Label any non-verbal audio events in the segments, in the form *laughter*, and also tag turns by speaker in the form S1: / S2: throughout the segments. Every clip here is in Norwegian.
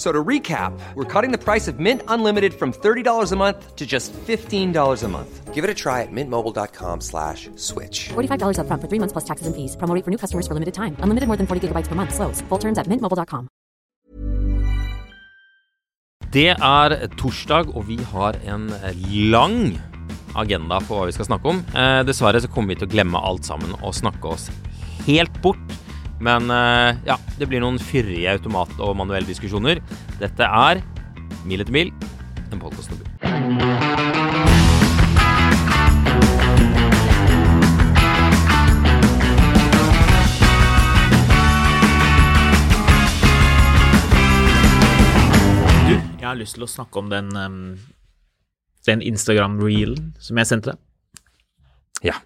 S1: So to recap, we're cutting the price of Mint Unlimited from $30 a month to just $15 a month. Give it a try at mintmobile.com slash switch.
S2: $45 upfront for three months plus taxes and fees. Promoting for new customers for limited time. Unlimited more than 40 gigabytes per month. Slows. Full terms at mintmobile.com.
S3: Det er torsdag, og vi har en lang agenda for hva vi skal snakke om. Eh, dessverre så kommer vi til å glemme alt sammen og snakke oss helt bort. Men eh, ja, det blir noen fyrige automat- og manuelldiskusjoner. Dette er Mil etter mil, en podkast om bil.
S4: Du, jeg har lyst til å snakke om den, em, den Instagram-reelen som jeg sendte deg.
S3: Ja.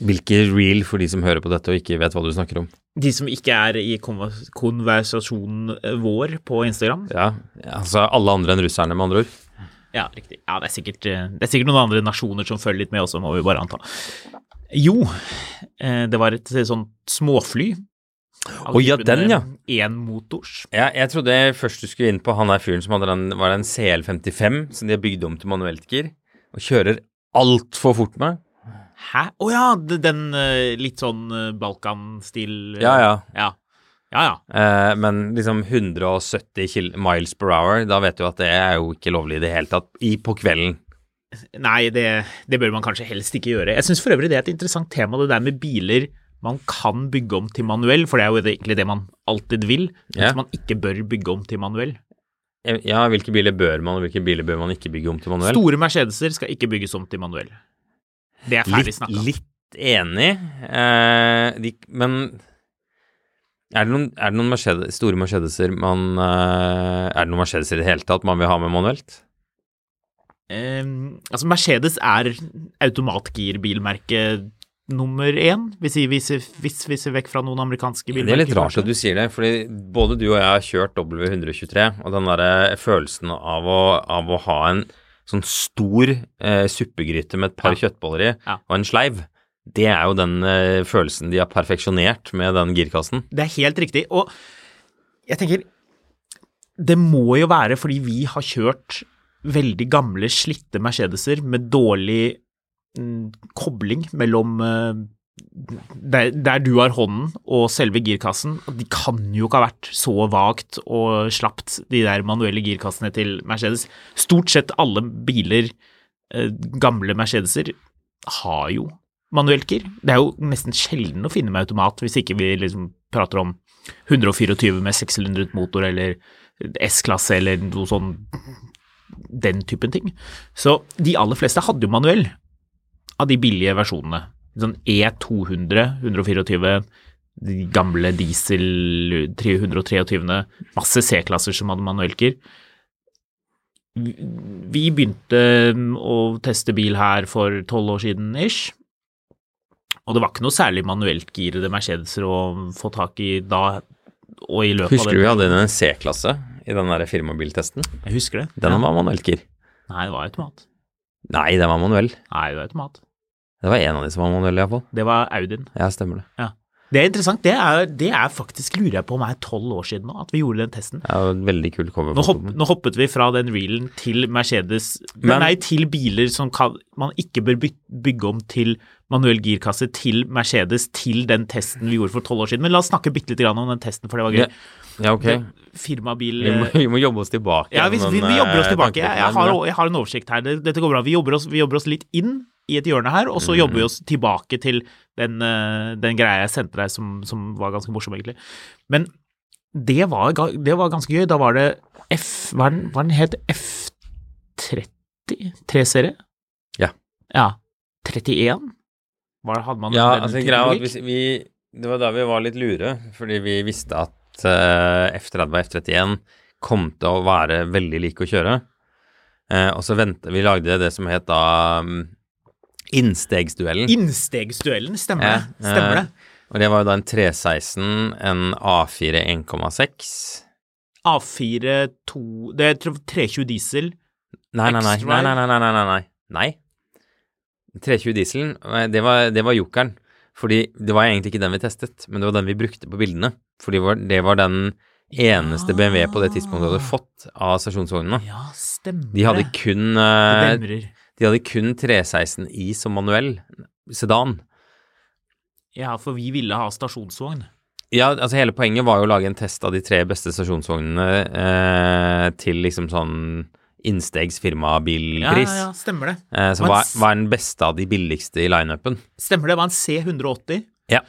S3: Hvilke reel for de som hører på dette og ikke vet hva du snakker om?
S4: De som ikke er i konvers- konversasjonen eh, vår på Instagram.
S3: Ja, altså alle andre enn russerne, med andre ord.
S4: Ja, riktig. Ja, det er, sikkert, eh, det er sikkert noen andre nasjoner som følger litt med også, må vi bare anta. Jo, eh, det var et sånt småfly. Å
S3: Å, ja, den, ja.
S4: Én motors.
S3: Ja, jeg trodde først du skulle inn på han der fyren som hadde den, var den CL55, som de har bygd om til manuelt gir, og kjører altfor fort med.
S4: Hæ? Å ja, d- den eh, litt sånn eh, Balkan-stil. eh,
S3: Ja, ja.
S4: Ja, ja. ja.
S3: Eh, men liksom 170 kil miles per hour, da vet du at det er jo ikke lovlig i det hele tatt, i, på kvelden.
S4: Nei, det, det bør man kanskje helst ikke gjøre. Jeg syns for øvrig det er et interessant tema, det der med biler man kan bygge om til manuell, for det er jo egentlig det man alltid vil, mens
S3: Ja.
S4: man ikke bør bygge om til manuell.
S3: Eh, Ja, hvilke biler bør man, og hvilke biler bør man ikke bygge om til manuell?
S4: Store Mercedeser skal ikke bygges om til manuell. Det er ferdig altså.
S3: litt,
S4: snakka.
S3: litt enig, eh, de, men er det noen, er det noen Mercedes, store Mercedeser man eh, Er det noen Mercedeser i det hele tatt man vil ha med manuelt?
S4: Ehm, altså, Mercedes er automatgirbilmerket nummer én, hvis vi viser, hvis vi ser vekk fra noen amerikanske
S3: Det er
S4: bilmerker.
S3: litt rart
S4: kanskje.
S3: at du sier det, fordi både du og jeg har kjørt W123, og den derre følelsen av å, av å ha en sånn stor eh, suppegryte med et par
S4: Ja.
S3: kjøttboller i,
S4: Ja.
S3: og en sleiv, det er jo den eh, følelsen de har perfeksjonert med den girkassen.
S4: Det er helt riktig. Og jeg tenker Det må jo være fordi vi har kjørt veldig gamle, slitte Mercedeser med dårlig mm, kobling mellom eh, der, der du har hånden og selve girkassen. Og De kan jo ikke ha vært så vagt og slapt, de der manuelle girkassene til Mercedes. Stort sett alle biler, eh, gamle Mercedeser, har jo manuelt gir. Det er jo nesten sjelden å finne med automat, hvis ikke vi liksom prater om 124 med sekslindret motor eller S-klasse eller noe sånn den typen ting. Så de aller fleste hadde jo manuell av de billige versjonene. Sånn E200, 124, de gamle diesel 323, masse C-klasser som hadde manuelt gir vi begynte mm, å teste bil her for tolv år siden ish. Og det var ikke noe særlig manueltgirede Mercedeser å få tak i da og i løpet
S3: Husker du
S4: av
S3: vi
S4: den.
S3: hadde en C-klasse i den derre firmabiltesten?
S4: Jeg husker det.
S3: Den
S4: ja.
S3: var manuelt gir.
S4: Nei, det var automat.
S3: Nei, den var manuell.
S4: Nei, det var automat.
S3: Det var en av de som var manuell, iallfall.
S4: Det var Audien.
S3: Ja, stemmer det.
S4: Ja. Det er interessant. Det er, det er faktisk, lurer jeg på om det er tolv år siden nå, at vi gjorde den testen.
S3: Det er jo et veldig kult cover. på
S4: Nå, hopp,
S3: filmen.
S4: nå hoppet vi fra den reelen til Mercedes
S3: Men-
S4: Nei, til biler som kan, man ikke bør byt- bygge om til manuell girkasse til Mercedes, til den testen vi gjorde for tolv år siden. Men la oss snakke bitte litt grann om den testen, for det var gøy.
S3: Ja, ja, ok.
S4: Det- Firmabil
S3: Vi må,
S4: eh,
S3: vi må jobbe oss tilbake.
S4: Ja, vi,
S3: gjennom
S4: vi,
S3: den,
S4: vi jobber oss
S3: eh,
S4: tilbake. Jeg, jeg,
S3: tankegangen
S4: har,
S3: der.
S4: jeg har en oversikt her. Det- Dette går bra. Vi jobber oss, vi jobber oss litt inn i et hjørne her, og så jobber
S3: Mhm.
S4: vi oss tilbake til den, eh, den greia jeg sendte deg som, som var ganske morsom, egentlig. Men det var, ga- det var ganske gøy. Da var det F Hva er den, hva er den het? F30? 3-serie?
S3: Ja.
S4: Ja. 31? Hva hadde man
S3: Ja,
S4: den
S3: altså
S4: typen
S3: greia var at
S4: logikk?
S3: hvis vi Det var da vi var litt lure, fordi vi visste at eh, F30 og F31 kom til å være veldig like å kjøre. Eh, og så ventet Vi lagde det som het da mm, Innstegsduellen.
S4: Innstegsduellen, stemmer
S3: Ja,
S4: det? Stemmer
S3: eh,
S4: det?
S3: og det var jo da en 316, en A4 1,6
S4: A4 2 Det er jeg tror 320 diesel.
S3: Nei, nei, nei. nei,
S4: X-Drive.
S3: nei, nei, nei, nei, nei, nei. nei. 320 dieselen, eh, det var, det var jokeren. Fordi det var egentlig ikke den vi testet, men det var den vi brukte på bildene. Fordi det var- det var den eneste BMW på det tidspunktet du hadde
S4: Ah.
S3: fått av stasjonsvognene.
S4: Ja, stemmer
S3: De hadde
S4: det.
S3: kun,
S4: Det
S3: eh,
S4: demrer.
S3: de hadde kun 316i som manuell sedan.
S4: Ja, for vi ville ha stasjonsvogn.
S3: Ja, altså hele poenget var jo å lage en test av de tre beste stasjonsvognene eh, til liksom sånn innstegs
S4: Ja,
S3: firmabilpris.
S4: ja, ja, stemmer det.
S3: Eh, så
S4: Men
S3: hva,
S4: s-
S3: hva er den beste av de billigste i lineupen?
S4: Stemmer det, det var en C180.
S3: Ja.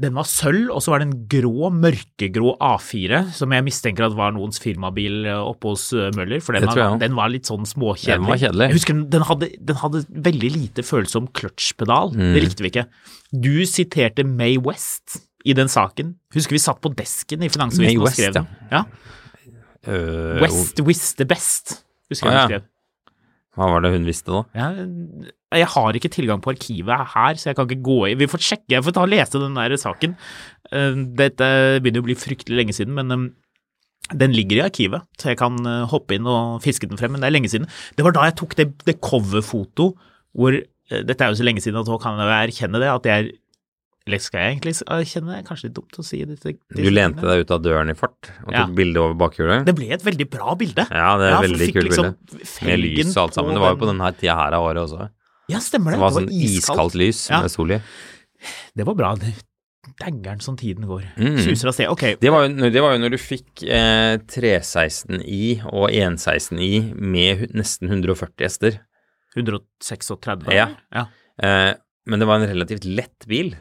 S4: Den var sølv, og så var det en grå, mørkegrå A4, som jeg mistenker at var noens firmabil eh, oppe hos eh, Møller, for den,
S3: Det tror jeg
S4: var,
S3: også.
S4: den var litt sånn småkjedelig.
S3: Den var kjedelig.
S4: Jeg husker den, den, hadde, den hadde veldig lite følsom kløtsjpedal,
S3: Mm.
S4: det likte vi ikke. Du siterte May West i den saken. Husker vi satt på desken
S3: Mae
S4: i Finansavisen og
S3: West,
S4: skrev den. Ja.
S3: Øh,
S4: West with the best, husker jeg
S3: Å,
S4: hun
S3: ja.
S4: skrev.
S3: Hva var det hun visste da?
S4: Ja, jeg har ikke tilgang på arkivet her, så jeg kan ikke gå i Vi får sjekke, jeg får ta og lese den der saken. Eh, Dette begynner jo å bli fryktelig lenge siden, men eh, den ligger i arkivet, så jeg kan eh, hoppe inn og fiske den frem, men det er lenge siden. Det var da jeg tok det, det coverfoto hvor eh, Dette er jo så lenge siden at nå kan jeg jo erkjenne det, at jeg Eller skal jeg egentlig erkjenne det? Kanskje litt dumt å si det. til- til-
S3: Du lente deg ut av døren i fart og tok
S4: Ja.
S3: bilde over bakhjulet?
S4: Det ble et veldig bra bilde.
S3: Ja, det er
S4: for
S3: veldig
S4: fikk
S3: kult
S4: liksom
S3: Med lys og alt sammen.
S4: felgen
S3: Det var jo på denne tida her av året også.
S4: Ja, stemmer det.
S3: Det var sånn iskaldt lys
S4: Ja.
S3: med sol i.
S4: Det var bra. det- Dængeren som tiden går.
S3: Mm.
S4: Suser av sted. Ok,
S3: Det var, jo, det var jo når du fikk eh, 316i og 116i med hu- nesten 140 hester.
S4: 136.
S3: Ja.
S4: ja.
S3: Eh, men det var en relativt lett bil.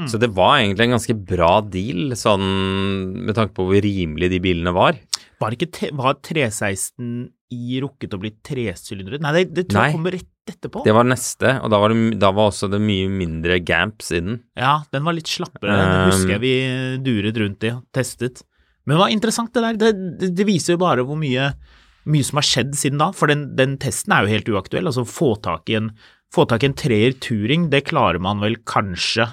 S3: Så det var egentlig en ganske bra deal, sånn med tanke på hvor rimelige de bilene var.
S4: Var ikke te- var 316 i rukket å bli tresylindere? Nei, det, det tror
S3: Nei.
S4: jeg kommer rett etterpå.
S3: Det var neste, og da var, det, da var også det mye mindre gamps i den.
S4: Ja, den var litt slappere. Den
S3: Um.
S4: husker jeg vi eh, duret rundt i og testet. Men det var interessant, det der. Det, det, det viser jo bare hvor mye, mye som har skjedd siden da. For den, den testen er jo helt uaktuell. Altså, få tak i en, få tak i en treer turing, det klarer man vel kanskje.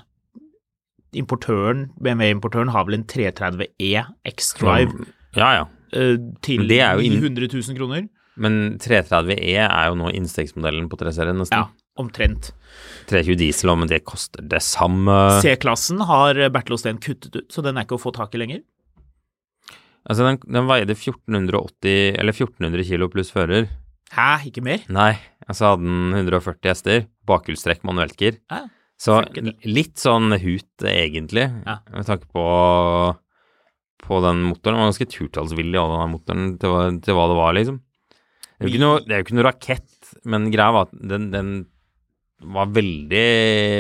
S4: Importøren, BMW-importøren har vel en 330E X-Drive
S3: Ja, ja.
S4: eh, til
S3: Men det er jo inn-
S4: 900 000 kroner.
S3: Men 330E er jo nå innstegsmodellen på 3-serien,
S4: Ja,
S3: nesten.
S4: omtrent.
S3: 320 diesel, og men det koster det samme.
S4: C-klassen har Bertil Osten kuttet ut, så den er ikke å få tak i lenger.
S3: Altså, den, den veide 1480, eller 1400 kilo pluss fører.
S4: Hæ, ikke mer?
S3: Nei, altså hadde den 140 hester, bakhjulstrekk, manuelt gir.
S4: Ja.
S3: Så
S4: funker det.
S3: l- litt sånn hut, egentlig,
S4: Ja.
S3: med tanke på, på den motoren. Den var ganske turtallsvillig, også, den her motoren, til hva, til hva det var, liksom. Det er jo ikke noe, det er jo ikke noe rakett, men greia var at den, den var veldig,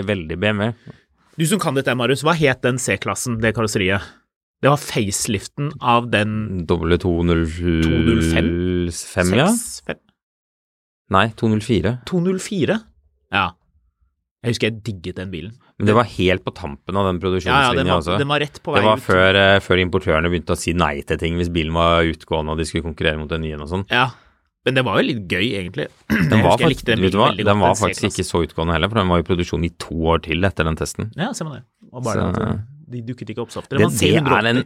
S3: veldig BMW.
S4: Du som kan dette, Marius, hva het den C-klassen, det karosseriet? Det var faceliften av den
S3: W205, ja?
S4: 65
S3: Nei, 204.
S4: 204. Ja. Jeg husker jeg digget den bilen.
S3: Men det var helt på tampen av den
S4: Ja, ja, den
S3: produksjonslinja
S4: var,
S3: også.
S4: den var rett på vei
S3: Det var
S4: ut.
S3: før, eh, før importørene begynte å si nei til ting hvis bilen var utgående og de skulle konkurrere mot den nye og sånn.
S4: Ja. Men det var jo litt gøy, egentlig. *clears throat*
S3: Den
S4: jeg
S3: var, faktisk,
S4: husker jeg likte den
S3: vet du
S4: bilen
S3: hva,
S4: veldig
S3: den var
S4: godt, den
S3: faktisk ikke så utgående heller, for den var i produksjon i to år til etter den testen.
S4: Ja, ser man det. Og bare
S3: Så-
S4: at eh, de dukket ikke opp så ofte.
S3: Det, det
S4: Det,
S3: er en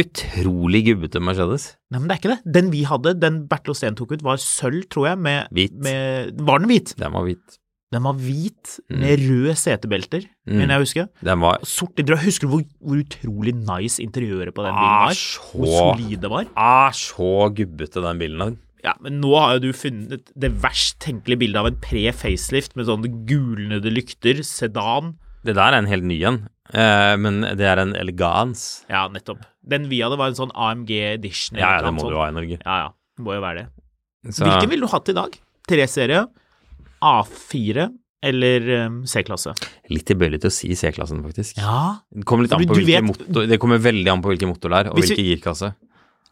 S3: utrolig gubbete Mercedes.
S4: Nei, men det er ikke det. Den vi hadde, den Bertil Osten tok ut, var sølv, tror jeg, med
S3: Hvit.
S4: Med, var den hvit?
S3: Den var hvit.
S4: Den var hvit med røde setebelter,
S3: Mm.
S4: mener jeg å huske.
S3: Den var
S4: Sort interiør. Husker du hvor, hvor utrolig nice interiøret på den bilen
S3: Ah,
S4: var?
S3: så-
S4: Hvor solid det var?
S3: ah, så gubbete, den bilen der.
S4: Ja, men nå har jo du funnet det verst tenkelige bildet av en pre-facelift med sånne gulnede lykter, sedan.
S3: Det der er en helt ny en, eh, men det er en elegans.
S4: Ja, nettopp. Den vi hadde, var en sånn AMG edition.
S3: Ja, ja,
S4: eller
S3: det
S4: noe
S3: må
S4: sånt.
S3: du ha i Norge.
S4: Ja, ja. Det må jo være det.
S3: Så-
S4: Hvilken ville du hatt i dag? 3-serie, A4, eller eh, C-klasse.
S3: Litt tilbøyelig til å si C-klassen, faktisk.
S4: Ja,
S3: Det kommer litt an
S4: Men
S3: på
S4: du
S3: hvilken
S4: vet-
S3: motor, det kommer veldig an på hvilken motor det er, og
S4: Hvis vi-
S3: hvilken girkasse.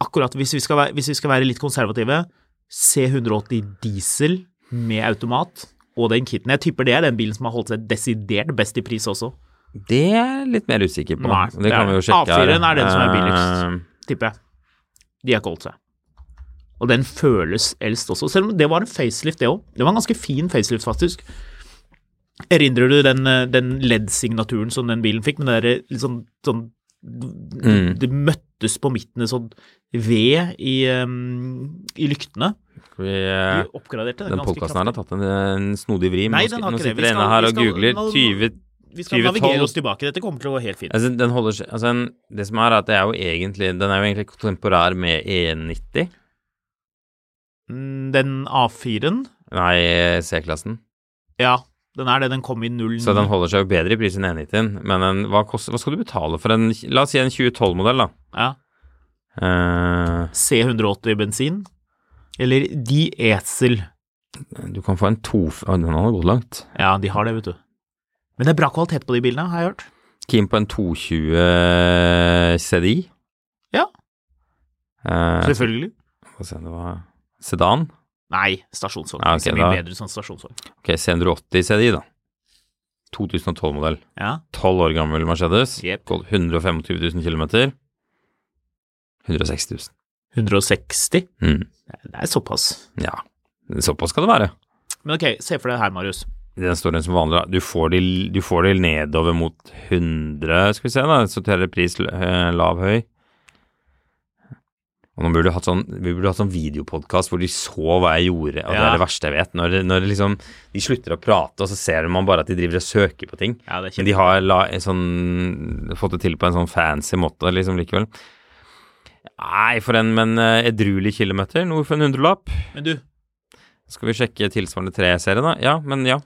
S4: akkurat. Hvis vi skal være, hvis vi skal være litt konservative, C180 diesel med automat og den kitten. Jeg tipper det er den bilen som har holdt seg desidert best i pris også,
S3: Det er jeg litt mer usikker på.
S4: Nei,
S3: det
S4: det
S3: kan
S4: er
S3: vi jo
S4: det.
S3: sjekke her.
S4: A4-en er den som er
S3: Eh,
S4: tipper jeg. De har ikke holdt seg. Og den føles eldst også, selv om det var en facelift, det òg. Det var en ganske fin facelift, faktisk. Erindrer du den, eh, den LED-signaturen som den bilen fikk, med det derre litt sånn, sånn
S3: Mm.
S4: Det møttes på midten et sånt ved i, eh, i lyktene.
S3: Skal vi,
S4: Vi
S3: eh,
S4: oppgraderte den,
S3: den
S4: ganske
S3: podkasten her har
S4: kraftig.
S3: tatt en, en snodig vri, men
S4: Nei,
S3: nå
S4: den
S3: sk-
S4: har
S3: nå
S4: ikke det.
S3: sitter
S4: Vi
S3: det
S4: skal-
S3: ene her
S4: vi
S3: og
S4: skal-
S3: googler
S4: nå- nå-
S3: 20
S4: Vi skal
S3: 2012.
S4: navigere oss tilbake, dette kommer til å gå helt fint.
S3: Altså, den holder seg altså, en- Det som er, at det er jo egentlig Den er jo egentlig kontemporær med E90.
S4: Mm, Den A4-en,
S3: Nei, C-klassen.
S4: ja, den er det. Den kom i 09.
S3: Så den holder seg jo bedre i pris enn E90-en. Men en, hva, kost, hva skal du betale for en La oss si en 2012-modell, da.
S4: ja.
S3: Eh,
S4: C180 bensin, eller diesel.
S3: du kan få en to... Å, den hadde gått langt.
S4: Ja, de har det, vet du. Men det er bra kvalitet på de bilene, har jeg hørt.
S3: Keen på en 220 CDI.
S4: Ja.
S3: Eh,
S4: Selvfølgelig.
S3: Få se, det var Sedan.
S4: Nei, stasjonsvogn.
S3: Ja, ok,
S4: det ser
S3: da-
S4: mye bedre ut som stasjonsvogn.
S3: Ok, C180 CDI, da. 2012-modell.
S4: Ja.
S3: 12 år gammel Mercedes.
S4: Jep.
S3: Gått 125 000 km. 160 000.
S4: 160.
S3: Mm.
S4: Det er såpass.
S3: Ja, såpass skal det være.
S4: Men ok, se for deg her, Marius.
S3: Den står en som vanlig. da. Du får de, du får de nedover mot 100, skal vi se da. Så teller pris eh, lav, høy. Og nå burde vi hatt sånn, vi burde hatt sånn videopodkast hvor de så hva jeg gjorde, og det
S4: Ja.
S3: er det verste jeg vet. Når, det- når det liksom, de slutter å prate, og så ser man bare at de driver og søker på ting.
S4: Ja, det er
S3: Men de har la, en sånn, fått det til på en sånn fancy måte liksom likevel. Nei, for en men eh, edruelig kilometer, noe for en hundrelapp.
S4: Men du,
S3: Skal vi sjekke tilsvarende tre-serie, da? Ja, men ja.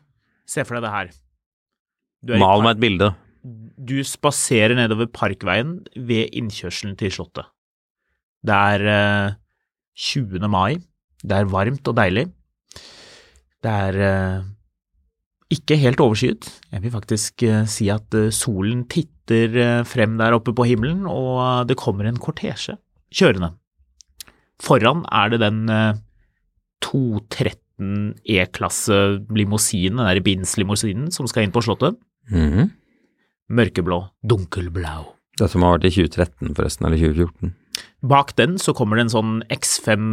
S4: se for deg det her. Du, er i
S3: Mal
S4: park-
S3: meg et bilde.
S4: du spaserer nedover Parkveien ved innkjørselen til Slottet. Det er eh, 20. mai. Det er varmt og deilig. Det er eh, ikke helt overskyet. Jeg vil faktisk eh, si at eh, solen titter eh, frem der oppe på himmelen, og eh, det kommer en kortesje kjørende. Foran er det den eh, 213 E-klasse limousinen, den der Binz-limousinen, som skal inn på Slottet. Mørkeblå, dunkelblau.
S3: Det som har vært i 2013, forresten, eller 2014.
S4: Bak den så kommer det en sånn X5,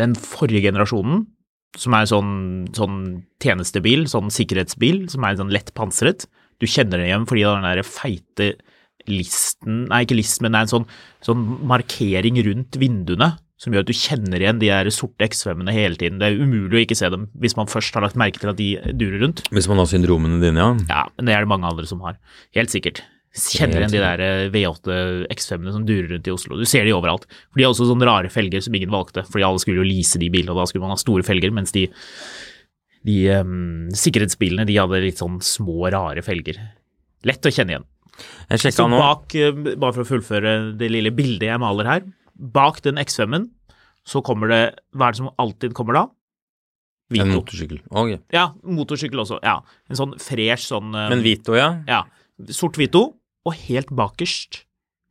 S4: den forrige generasjonen, som er sånn, sånn tjenestebil, sånn sikkerhetsbil, som er sånn lett pansret. Du kjenner den igjen fordi det er den der feite listen, nei ikke list, men det er en sånn, sånn markering rundt vinduene som gjør at du kjenner igjen de der sorte X5-ene hele tiden. Det er umulig å ikke se dem hvis man først har lagt merke til at de durer rundt.
S3: Hvis man har syndromene dine, ja.
S4: Ja, men det er det mange andre som har. Helt sikkert. Kjenner igjen de der eh, V8 X5-ene som durer rundt i Oslo. Du ser de overalt. For de har også sånne rare felger som ingen valgte, fordi alle skulle jo lease de bilene, og da skulle man ha store felger, mens de, de eh, sikkerhetsbilene de hadde litt sånn små, rare felger. Lett å kjenne igjen.
S3: Jeg
S4: Så
S3: sjekka nå.
S4: bak, eh, bare for å fullføre det lille bildet jeg maler her, bak den X5-en så kommer det, hva er det som alltid kommer da?
S3: En
S4: Vito.
S3: motorsykkel. Ok.
S4: Ja, motorsykkel også. Ja, en sånn fresh sånn eh,
S3: Men Vito, ja.
S4: ja. Sort Vito, og helt bakerst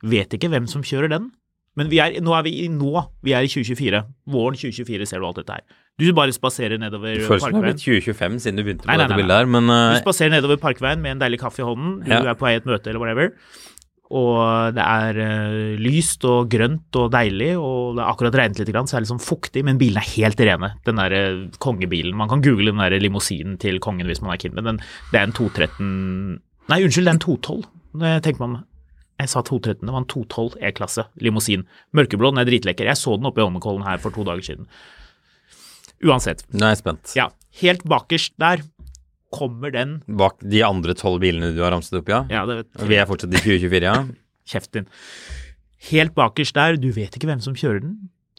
S4: Vet ikke hvem som kjører den. Men vi er, nå er vi i nå. Vi er i 2024. Våren 2024 ser du alt dette her. Du bare spaserer nedover
S3: Det føles som det har
S4: parkveien.
S3: blitt 2025 siden du begynte på
S4: Nei, nei,
S3: dette
S4: nei,
S3: bildet her, men
S4: Du
S3: eh,
S4: spaserer nedover parkveien med en deilig kaffe i hånden. Du
S3: Ja.
S4: er på vei i et møte eller whatever. Og det er eh, lyst og grønt og deilig, og det har akkurat regnet litt, grann, så det er litt sånn fuktig, men bilene er helt rene. Den der eh, kongebilen. Man kan google den der limousinen til kongen hvis man er keen, men den, det er en 213 Nei, unnskyld, det er en 212. Det tenker man jeg sa 213, det var en 212 E-klasse limousin. Mørkeblå, den er dritlekker. Jeg så den oppe i Holmenkollen her for to dager siden. Uansett.
S3: nå er jeg spent.
S4: Ja, helt bakerst der kommer den
S3: Bak de andre tolv bilene du har ramset opp, ja.
S4: Ja, det vet
S3: Vi er fortsatt i 2024, ja.
S4: Kjeft din. Helt bakerst der, du vet ikke hvem som kjører den.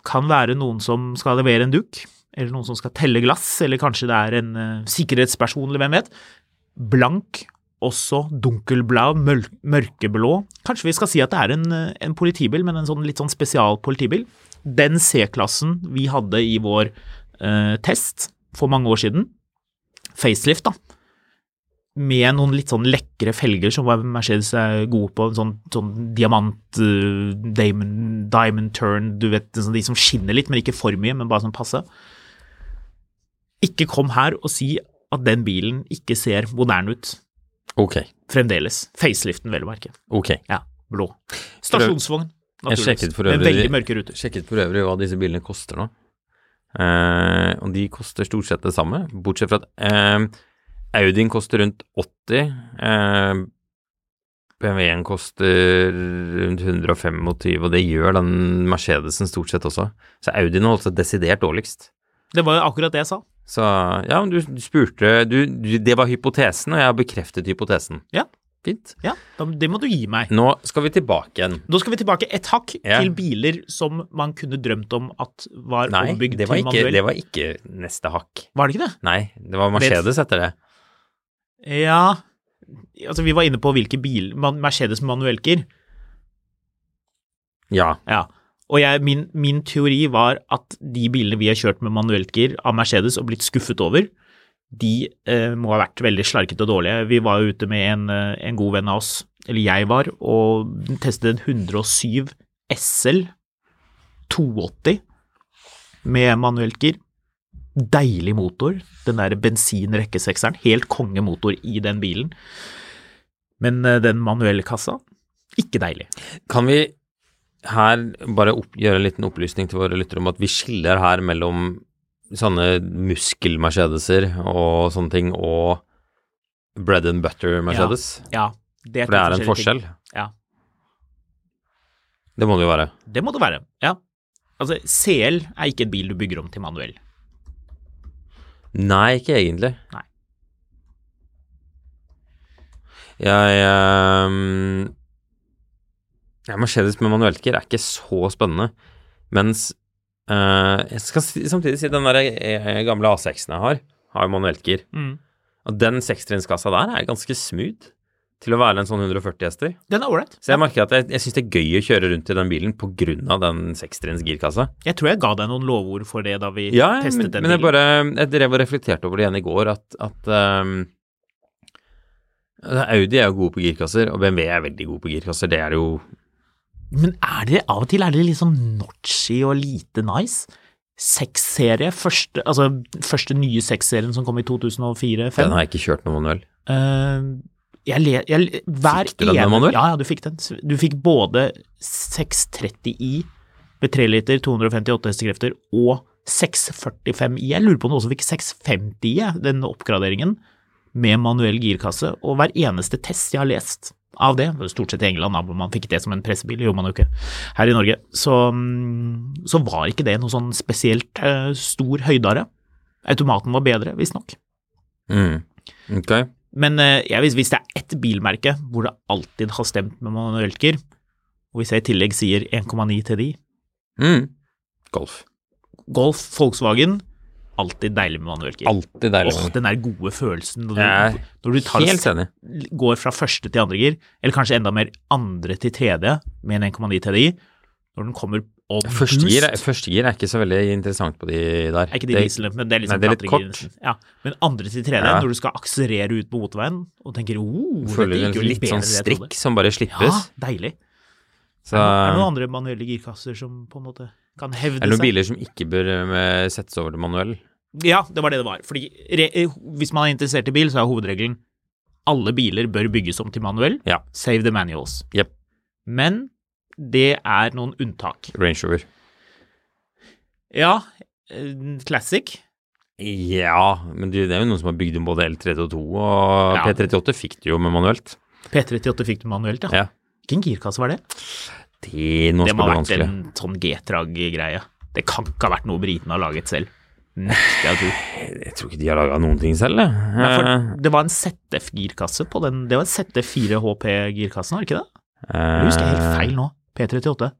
S4: Kan være noen som skal levere en dukk, eller noen som skal telle glass, eller kanskje det er en eh, sikkerhetsperson, eller hvem vet. Blank, også dunkelblå, møl- mørkeblå. Kanskje vi skal si at det er en, eh, en politibil, men en sånn litt sånn spesial politibil. Den C-klassen vi hadde i vår eh, test for mange år siden, facelift, da. Med noen litt sånn lekre felger som Mercedes er gode på. En sånn, sånn diamant, eh, diamond, diamond turn, du vet, sånn, de som skinner litt, men ikke for mye, men bare sånn passe. Ikke kom her og si at den bilen ikke ser moderne ut
S3: Ok.
S4: fremdeles. Faceliften, vel å merke.
S3: ok.
S4: Ja, blå. Stasjonsvogn,
S3: Jeg
S4: naturligvis.
S3: sjekket for
S4: Med
S3: øvrig,
S4: veldig mørke ruter.
S3: sjekket for øvrig hva disse bilene koster nå. Eh, og de koster stort sett det samme, bortsett fra at eh, Audien koster rundt 80, eh, BMW-en koster rundt 125, og det gjør den Mercedesen stort sett også. Så Audien holdt seg desidert dårligst.
S4: Det var jo akkurat det jeg sa.
S3: Så ja, men du, du spurte du, du, Det var hypotesen, og jeg har bekreftet hypotesen.
S4: Ja.
S3: Fint.
S4: Ja, da, det må du gi meg.
S3: Nå skal vi tilbake igjen.
S4: Da skal vi tilbake et hakk
S3: Mm. Ja.
S4: til biler som man kunne drømt om at var
S3: Nei,
S4: ombygd
S3: det var,
S4: til
S3: ikke,
S4: manuell.
S3: det var ikke neste hakk.
S4: Var det ikke det?
S3: Nei, det var Mercedes etter det.
S4: Ja Altså, vi var inne på hvilke biler man, Mercedes med manuellgir.
S3: Ja.
S4: Ja. Og jeg, min, min teori var at de bilene vi har kjørt med manuelt gir av Mercedes og blitt skuffet over, de eh, må ha vært veldig slarkete og dårlige. Vi var jo ute med en, eh, en god venn av oss, eller jeg var, og testet en 107 SL 280 med manuelt gir. Deilig motor, den der bensinrekkesekseren. Helt kongemotor i den bilen. Men eh, den manuelle kassa, ikke deilig.
S3: Kan vi her bare opp, gjøre en liten opplysning til våre lyttere om at vi skiller her mellom sånne muskel-Mercedeser og sånne ting, og bread and butter-Mercedes?
S4: Ja, det er,
S3: For det er
S4: to
S3: en
S4: forskjellige ting.
S3: forskjell.
S4: Ja,
S3: Det må det jo være.
S4: det må det være. Ja. Altså, CL er ikke en bil du bygger om til manuell.
S3: Nei, ikke egentlig.
S4: Nei.
S3: Jeg ehm, ja, Mercedes med manuellgir er ikke så spennende, mens eh, Jeg skal si- samtidig si den der eh, gamle A6-en jeg har, har jo manuellgir. Og den sekstrinnskassa der er ganske smooth til å være en sånn 140 hester.
S4: Den er ålreit.
S3: Så jeg merker at jeg, jeg syns det er gøy å kyrre rundt i den bilen på grunn av den sekstrinns girkassa.
S4: Jeg tror jeg ga deg noen lovord for det da vi
S3: Ja, men,
S4: testet den
S3: men jeg
S4: bilen.
S3: bare Jeg drev og reflekterte over det igjen i går, at, at ehm, altså, Audi er jo gode på girkasser, og BMW er veldig gode på girkasser. Det er det jo
S4: Men er det av og til er det liksom notchy og lite nice? Seksserie, første, altså første nye seksserien som kom i 2004-2005.
S3: Den har jeg ikke kjørt noe manuell.
S4: Eh, jeg le, jeg, le- hver
S3: Fikk du den med
S4: ene-
S3: manuell?
S4: Ja, ja, du fikk den. Du fikk både 630i med 3 liter, 258 hestekrefter, og 645i. Jeg lurer på om du også fikk 650i, den oppgraderingen, med manuell girkasse. Og hver eneste test jeg har lest av det, stort sett i England, da, hvor man fikk det som en pressebil, det gjorde man jo ikke her i Norge, så, mm, så var ikke det noe sånn spesielt eh, stor høydare. Automaten var bedre, visstnok.
S3: Mm. Ok.
S4: Men eh, jeg, hvis, hvis det er ett bilmerke hvor det alltid har stemt med manuelt gir, og hvis jeg i tillegg sier 1,9 til de,
S3: Mm. Golf.
S4: Golf, Volkswagen, alltid deilig med manuelt gir.
S3: Alltid deilig.
S4: Åh, den der gode følelsen når
S3: Jeg
S4: du,
S3: er
S4: når du tar,
S3: helt enig.
S4: går fra første til andre gir, eller kanskje enda mer andre til tredje med en 1,9 TDI, når den kommer on
S3: Første gir, er-
S4: boost.
S3: første gir er ikke så veldig interessant på de der.
S4: Er ikke de dieselene, men det er
S3: nei,
S4: liksom
S3: det er litt
S4: klatregir
S3: kort.
S4: nesten. Ja, men andre til tredje,
S3: Ja.
S4: når du skal akselerere ut på motorveien og tenker oh,
S3: Føler
S4: dette
S3: du
S4: gikk jo
S3: litt
S4: bedre
S3: sånn
S4: enn jeg trodde».
S3: strikk som bare
S4: Ja,
S3: slippes?
S4: deilig.
S3: Så
S4: Er det
S3: er
S4: noen andre manuelle girkasser som på en måte kan hevde
S3: det noen
S4: seg?
S3: biler som ikke bør eh, settes over til manuell?
S4: Ja, det var det det var. Fordi re eh, hvis man er interessert i bil, så er hovedregelen alle biler bør bygges om til manuell.
S3: Ja.
S4: Save the manuals.
S3: Jepp.
S4: Men det er noen unntak.
S3: Range Rover.
S4: Ja, eh, classic.
S3: Ja, men du, det er jo noen som har bygd om både L322 og
S4: Ja.
S3: P38 fikk du jo med manuelt.
S4: P38 fikk du manuelt,
S3: Ja.
S4: ja. Hvilken girkasse var det?
S3: Det, nå
S4: Det
S3: skal det
S4: må ha
S3: bli
S4: vært
S3: vanskelig.
S4: en sånn G-trag-greie. Det kan ikke ha vært noe britene har laget selv. Nekter jeg å tro.
S3: Jeg tror ikke de har laga noen ting selv, jeg.
S4: Nei,
S3: Eh,
S4: for det var en ZF-girkasse på den. Det var en ZF4HP-girkassen, var det ikke det?
S3: eh,
S4: Jeg husker helt feil nå. P38.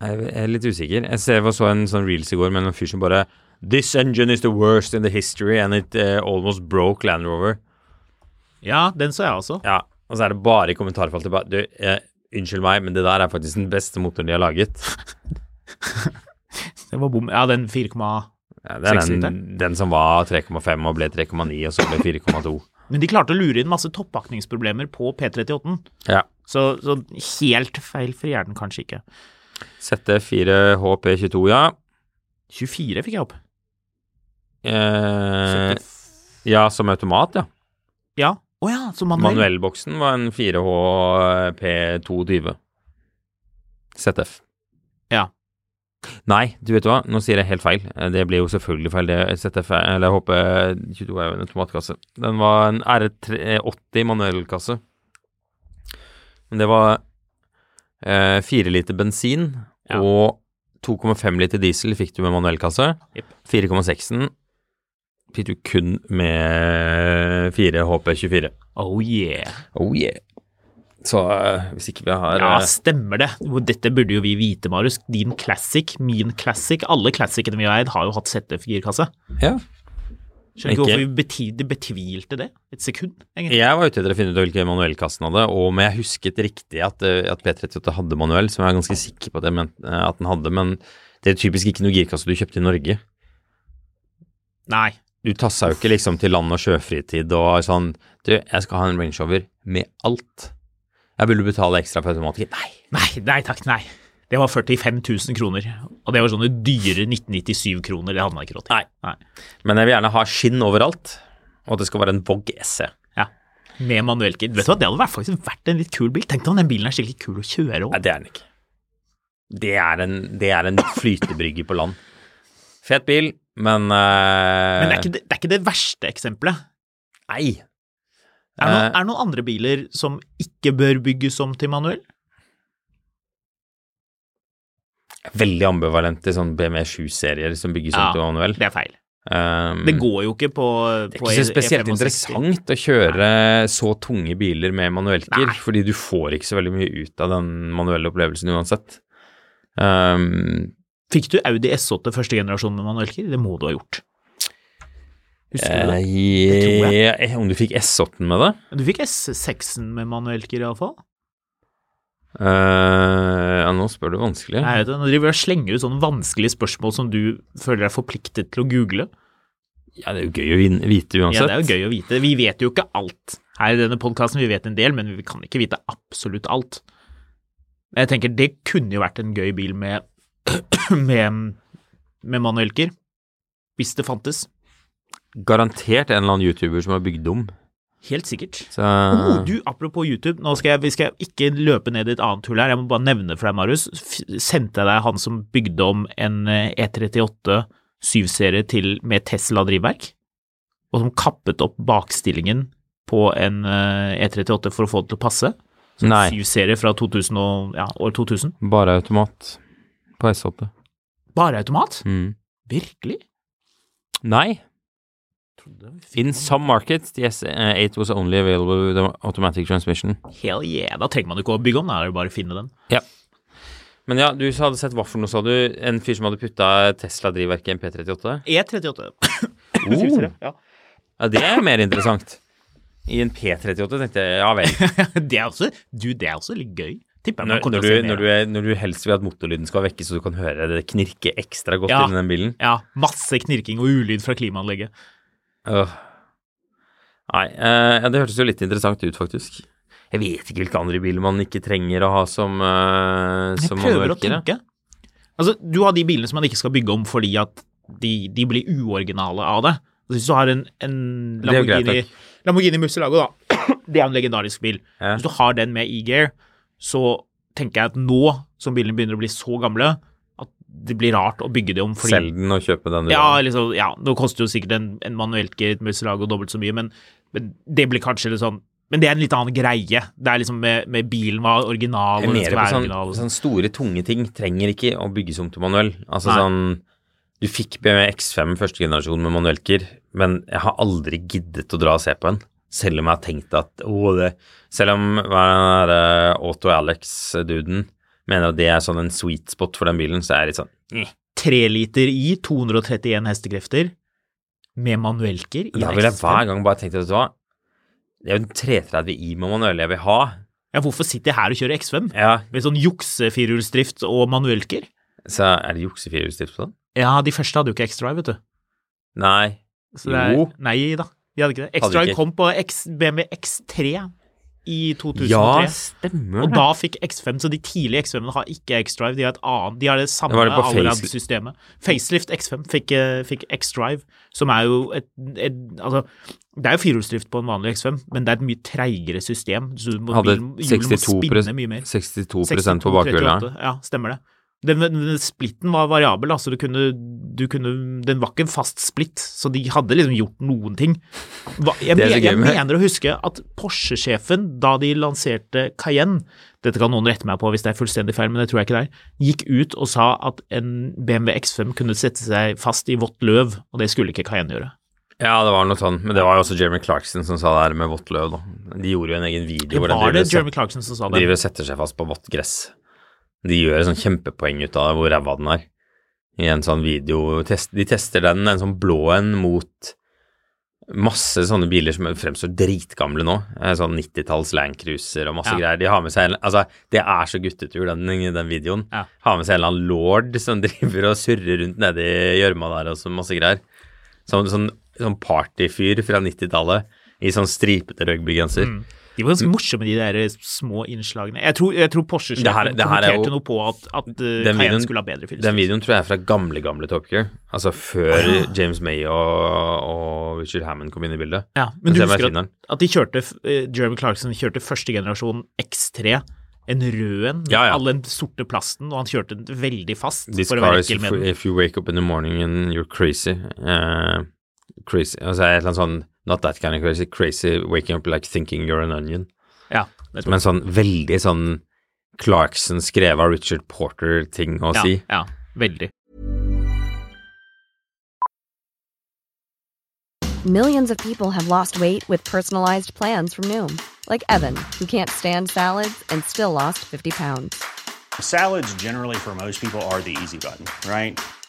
S3: Jeg er litt usikker. Jeg ser jeg så en sånn reels i går med en fyr som bare This engine is the worst in the history and it eh, almost broke Land Rover.
S4: Ja, den så jeg også.
S3: Ja, og så er det bare i kommentarfeltet bare Du, eh, unnskyld meg, men det der er faktisk den beste motoren de har laget.
S4: Det var bom. Ja, den 4,8
S3: Ja, det er den,
S4: Seksliter.
S3: den som var 3,5 og ble 3,9, og så
S4: *laughs*
S3: ble 4,2.
S4: Men de klarte å lure inn masse toppakningsproblemer på P38-en.
S3: Ja.
S4: Så, så helt feil for hjernen kanskje ikke.
S3: Sette 4 HP22, ja.
S4: 24 fikk jeg opp.
S3: Eh, ja, som automat, ja.
S4: Ja. Å ja, så manuell.
S3: Manuellboksen var en 4HP22. ZF.
S4: Ja.
S3: Nei, du vet hva, nå sier jeg helt feil. Eh, Det blir jo selvfølgelig feil. Det ZF, er- eller HP22 er jo en automatkasse. Den var en R80 manuellkasse. Men det var eh, 4 liter bensin
S4: Ja.
S3: og 2,5 liter diesel fikk du med manuellkasse.
S4: Jepp.
S3: 4,6-en fikk du kun med 4 HP24.
S4: Oh yeah.
S3: Oh yeah. Så eh, hvis ikke vi har
S4: Ja,
S3: eh,
S4: stemmer det. Jo, Dette burde jo vi vite, Marius. Din classic, min classic, alle classicene vi har eid, har jo hatt ZF-girkasse.
S3: ja.
S4: Skjønner ikke
S3: Ikke-
S4: hvorfor vi beti- de betvilte det et sekund, egentlig.
S3: Jeg var ute etter å finne ut hvilken manuellkassen hadde, og om jeg husket riktig at, eh, at P38 hadde manuell, som jeg er ganske sikker på at, jeg men, eh, at den hadde, men det er typisk ikke noe girkasse du kjøpte i Norge.
S4: Nei.
S3: Du tassa jo ikke liksom til land og sjøfritid og sånn Du, jeg skal ha en Range Rover med alt. Jeg vil du betale ekstra for automatikk? Nei.
S4: Nei, nei takk, nei. Det var 45 000 kroner, og det var sånne dyre 1997-kroner. Det hadde man ikke råd til. Nei.
S3: Men jeg vil gjerne ha skinn overalt, og at det skal være en Vog E. SE.
S4: Ja. Med manuellkit. Vet du hva, det hadde vært- faktisk vært en litt kul bil. Tenk deg om den bilen er skikkelig kul å kjøre
S3: Nei,
S4: òg.
S3: det er den ikke. Det er en, det er en flytebrygge på land. Fet bil, men, eh,
S4: Men det er, ikke det, det er ikke det verste eksempelet.
S3: Nei.
S4: Er det, noen,
S3: Eh.
S4: er det noen andre biler som ikke bør bygges om til manuell?
S3: Veldig ambivalente sånn BMW 7-serier som bygges om
S4: Ja,
S3: til manuell.
S4: Det er feil.
S3: Um,
S4: Det går jo ikke på
S3: det er
S4: på
S3: ikke
S4: E-
S3: så spesielt
S4: E65.
S3: interessant å kjøre så tunge biler med manuellgir,
S4: Nei.
S3: fordi du får ikke så veldig mye ut av den manuelle opplevelsen uansett. Um,
S4: Fikk du Audi S8 første generasjon med manuellkir? Det må du ha gjort. Husker du det? tror
S3: eh, eh, om du fikk S8 med det?
S4: Du fikk S6-en med manuellkir, iallfall.
S3: Eh, ja, nå spør du vanskelig.
S4: Nå driver jeg og slenger ut sånne vanskelige spørsmål som du føler deg forpliktet til å google.
S3: Ja, det er jo gøy å vin- vite uansett.
S4: Ja, det er jo gøy å vite. Vi vet jo ikke alt her i denne podkasten. Vi vet en del, men vi kan ikke vite absolutt alt. Men Jeg tenker det kunne jo vært en gøy bil med, *clears throat* med, med manuellker. Hvis det fantes.
S3: Garantert en eller annen YouTuber som har bygd om.
S4: Helt sikkert.
S3: Så Ah.
S4: Oh, du, apropos YouTube, nå skal jeg, vi skal ikke løpe ned i et annet hull her, jeg må bare nevne for deg, Marius. F sendte jeg deg han som bygde om en eh, E38 7-serie til med Tesla-drivverk, og som kappet opp bakstillingen på en eh, E38 for å få det til å passe?
S3: Nei,
S4: 7-serie fra 2000 og, ja, år 2000.
S3: bare automat på S8.
S4: Bare automat?
S3: Mm.
S4: Virkelig?
S3: Nei. In some markets, the S8 was only available with an automatic transmission.
S4: Hell yeah, da trenger man ikke å bygge om, da er det bare å finne den.
S3: Men ja, du hadde sett vaffelen, og så hadde du en fyr som hadde putta Tesla-drivverket i en P38.
S4: *coughs* E38.
S3: Oh.
S4: ja.
S3: Ja, det er mer interessant. I en P38 tenkte jeg ja
S4: *laughs*
S3: vel.
S4: det er også, du, det er også litt gøy. Tipper jeg man
S3: Når,
S4: kommer
S3: når,
S4: til å se
S3: du,
S4: mer av
S3: når, du, er- når du helst vil at motorlyden skal vekke, så du kan høre det knirke ekstra godt
S4: Ja.
S3: inni den bilen.
S4: Ja, masse knirking og ulyd fra klimaanlegget.
S3: Øh. Nei, eh, ja, det hørtes jo litt interessant ut, faktisk. Jeg vet ikke hvilke andre biler man ikke trenger å ha som, eh,
S4: Jeg
S3: som
S4: prøver å
S3: manuellkere.
S4: tenke. Altså, du har de bilene som man ikke skal bygge om fordi at de, de blir uoriginale av det. Altså, hvis du har en, en
S3: Det er jo greit
S4: Lamborghini, Lamborghini Murcielago, da, *clears throat* det er jo en legendarisk bil.
S3: Ja.
S4: Hvis du har den med e-gear, så tenker jeg at nå som bilene begynner å bli så gamle, at det blir rart å bygge det om fordi
S3: Selg den og kjøpe den. du
S4: Ja,
S3: vil.
S4: liksom, ja, nå koster jo sikkert en, en manuelt giret Murcielago dobbelt så mye, men, men det blir kanskje litt sånn Men det er en litt annen greie. Det er liksom med, med bilen var original,
S3: Jeg er
S4: og den
S3: mer
S4: skal
S3: på
S4: være
S3: sånn,
S4: original og sånn.
S3: sånn store, tunge ting trenger ikke å bygges om til manuell. Altså
S4: Nei.
S3: sånn Du fikk BMW X5 første generasjon med manuellker, men jeg har aldri giddet å dra og se på en. Selv om jeg har tenkt at å, det Selv om hva er den eh, derre Auto Alex-duden mener at det er sånn en sweet spot for den bilen, så er jeg litt sånn
S4: Tre liter i, 231 hestekrefter, med manuelker. i
S3: Da vil jeg
S4: X5.
S3: hver gang bare tenke vet du hva Det er jo en 330i med manuell jeg vil ha.
S4: Ja, hvorfor sitter jeg her og kjører X5?
S3: Ja,
S4: Med sånn juksefirehjulsdrift og manuelker?
S3: Så er det juksefirehjulsdrift på den?
S4: Ja, de første hadde jo ikke X-Drive, vet du.
S3: Nei.
S4: Så det er,
S3: Jo.
S4: Nei da, vi hadde ikke det.
S3: Hadde vi
S4: X-Drive
S3: ikke.
S4: kom på X, BMW X3 i 2003.
S3: Ja, stemmer
S4: og
S3: det.
S4: da fikk X5, så de tidlige X5-ene har ikke X-Drive. De har et annet, de har det samme
S3: Det var det på
S4: Allrad-systemet. Facelift X5 fikk, eh, fikk X-Drive, som er jo et, et Altså, det er jo firehjulsdrift på en vanlig X5, men det er et mye treigere system. Så du må,
S3: Hadde
S4: bilen, hjulet må
S3: 62,
S4: spinne mye mer.
S3: 62 på bakhjulet.
S4: 38, Ja, stemmer det. Den, den splitten var variabel, altså du kunne, du kunne Den var ikke en fast splitt, så de hadde liksom gjort noen ting. Hva, jeg,
S3: *laughs* Det er så
S4: men-
S3: gøy
S4: jeg
S3: med-
S4: mener å huske at Porsche-sjefen, da de lanserte Cayenne Dette kan noen rette meg på hvis det er fullstendig feil, men det tror jeg ikke det er. Gikk ut og sa at en BMW X5 kunne sette seg fast i vått løv, og det skulle ikke Cayenne gjøre.
S3: Ja, det var noe sånn, men det var jo også Jeremy Clarkson som sa det her med vått løv, da. De gjorde jo en egen video hvor de
S4: Var
S3: driver,
S4: det
S3: og
S4: Jeremy
S3: set-
S4: Clarkson som sa det?
S3: driver og setter seg fast på vått gress. De gjør et sånn kjempepoeng ut av hvor ræva den er. I en sånn video test, De tester den, en sånn blå en, mot masse sånne biler som fremstår dritgamle nå. Eh, Sånn 90-talls Land Cruiser og masse
S4: Ja.
S3: greier. De har med seg en, Altså, det er så guttetur, den, den videoen.
S4: Ja.
S3: Har med seg en eller annen lord som *laughs* driver og surrer rundt nede i gjørma der og så masse greier. Sånn, sånn, sånn partyfyr fra 90-tallet i sånn stripete rugbygenser.
S4: De var ganske morsomme, de der eh, små innslagene. Jeg tror, jeg tror
S3: Det her-
S4: Porsche-sjefen
S3: det her er
S4: kommenterte
S3: jo-
S4: noe på at, at
S3: Den
S4: eh, Cayenne
S3: videoen-
S4: skulle ha bedre filter.
S3: Den videoen tror jeg er fra gamle, gamle Top Gear. Altså før
S4: Ah.
S3: James May og, og Richard Hammond kom inn i bildet.
S4: Ja, men du
S3: se om jeg
S4: husker
S3: finner
S4: at,
S3: den.
S4: at de kjørte, f- eh, Jeremy Clarkson kjørte første generasjon X3, en rød en, med
S3: Ja, ja.
S4: all den sorte plasten, og han kjørte den veldig fast
S3: This
S4: for å
S3: car
S4: være
S3: is,
S4: ekkel med den.
S3: if you wake up in the morning and you're crazy. eh, crazy. Altså et eller annet sånn Not that kind of crazy. Crazy waking up like thinking you're an onion.
S4: Ja, nettopp.
S3: Som en sånn veldig sånn Clarkson skrevet av Richard Porter-ting å
S4: ja,
S3: si.
S4: ja, veldig.
S5: Millions of people have lost weight with personalized plans from Noom, like Evan, who can't stand salads and still lost 50 pounds.
S6: Salads, generally, for most people, are the easy button, right?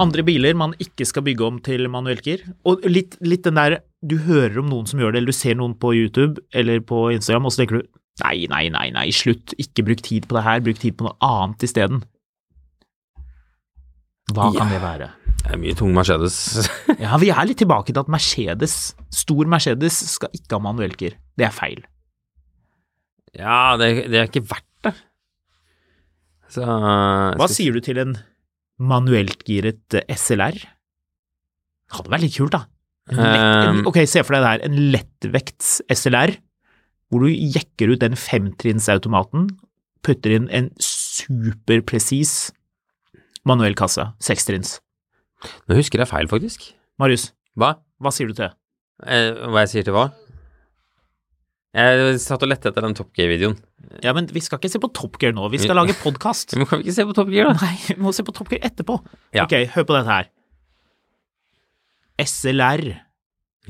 S4: Andre biler man ikke skal bygge om til manuellgir, og litt, litt den der, du hører om noen som gjør det, eller du ser noen på YouTube eller på Instagram, og så tenker du, nei, nei, nei, nei, slutt, ikke bruk tid på det her, bruk tid på noe annet i stedet. Hva kan det være?
S3: Det er mye tung Mercedes. *laughs*
S4: Ja, vi er litt tilbake til at Mercedes, stor Mercedes, skal ikke ha manuellgir. Det er feil.
S3: ja, det, det er ikke verdt det. Så
S4: Hva sier du til en manuelltgiret eh, SLR? Hadde vært litt kult, da. En lett, en,
S3: Um,
S4: ok, se for deg det her, en lettvekts SLR, hvor du jekker ut den femtrinnsautomaten, putter inn en superpresis manuell kasse, sekstrinns.
S3: Nå husker jeg feil, faktisk.
S4: Marius,
S3: Hva?
S4: hva sier du til det?
S3: Eh, hva jeg sier til hva? Jeg satt og lette etter den Top Gear-videoen.
S4: Ja, men vi skal ikke se på Top Gear nå, vi skal lage podkast.
S3: Men kan vi ikke se på Top Gear, da?
S4: *laughs* Nei, vi må se på Top Gear etterpå.
S3: Ja.
S4: Ok, hør på dette her. SLR,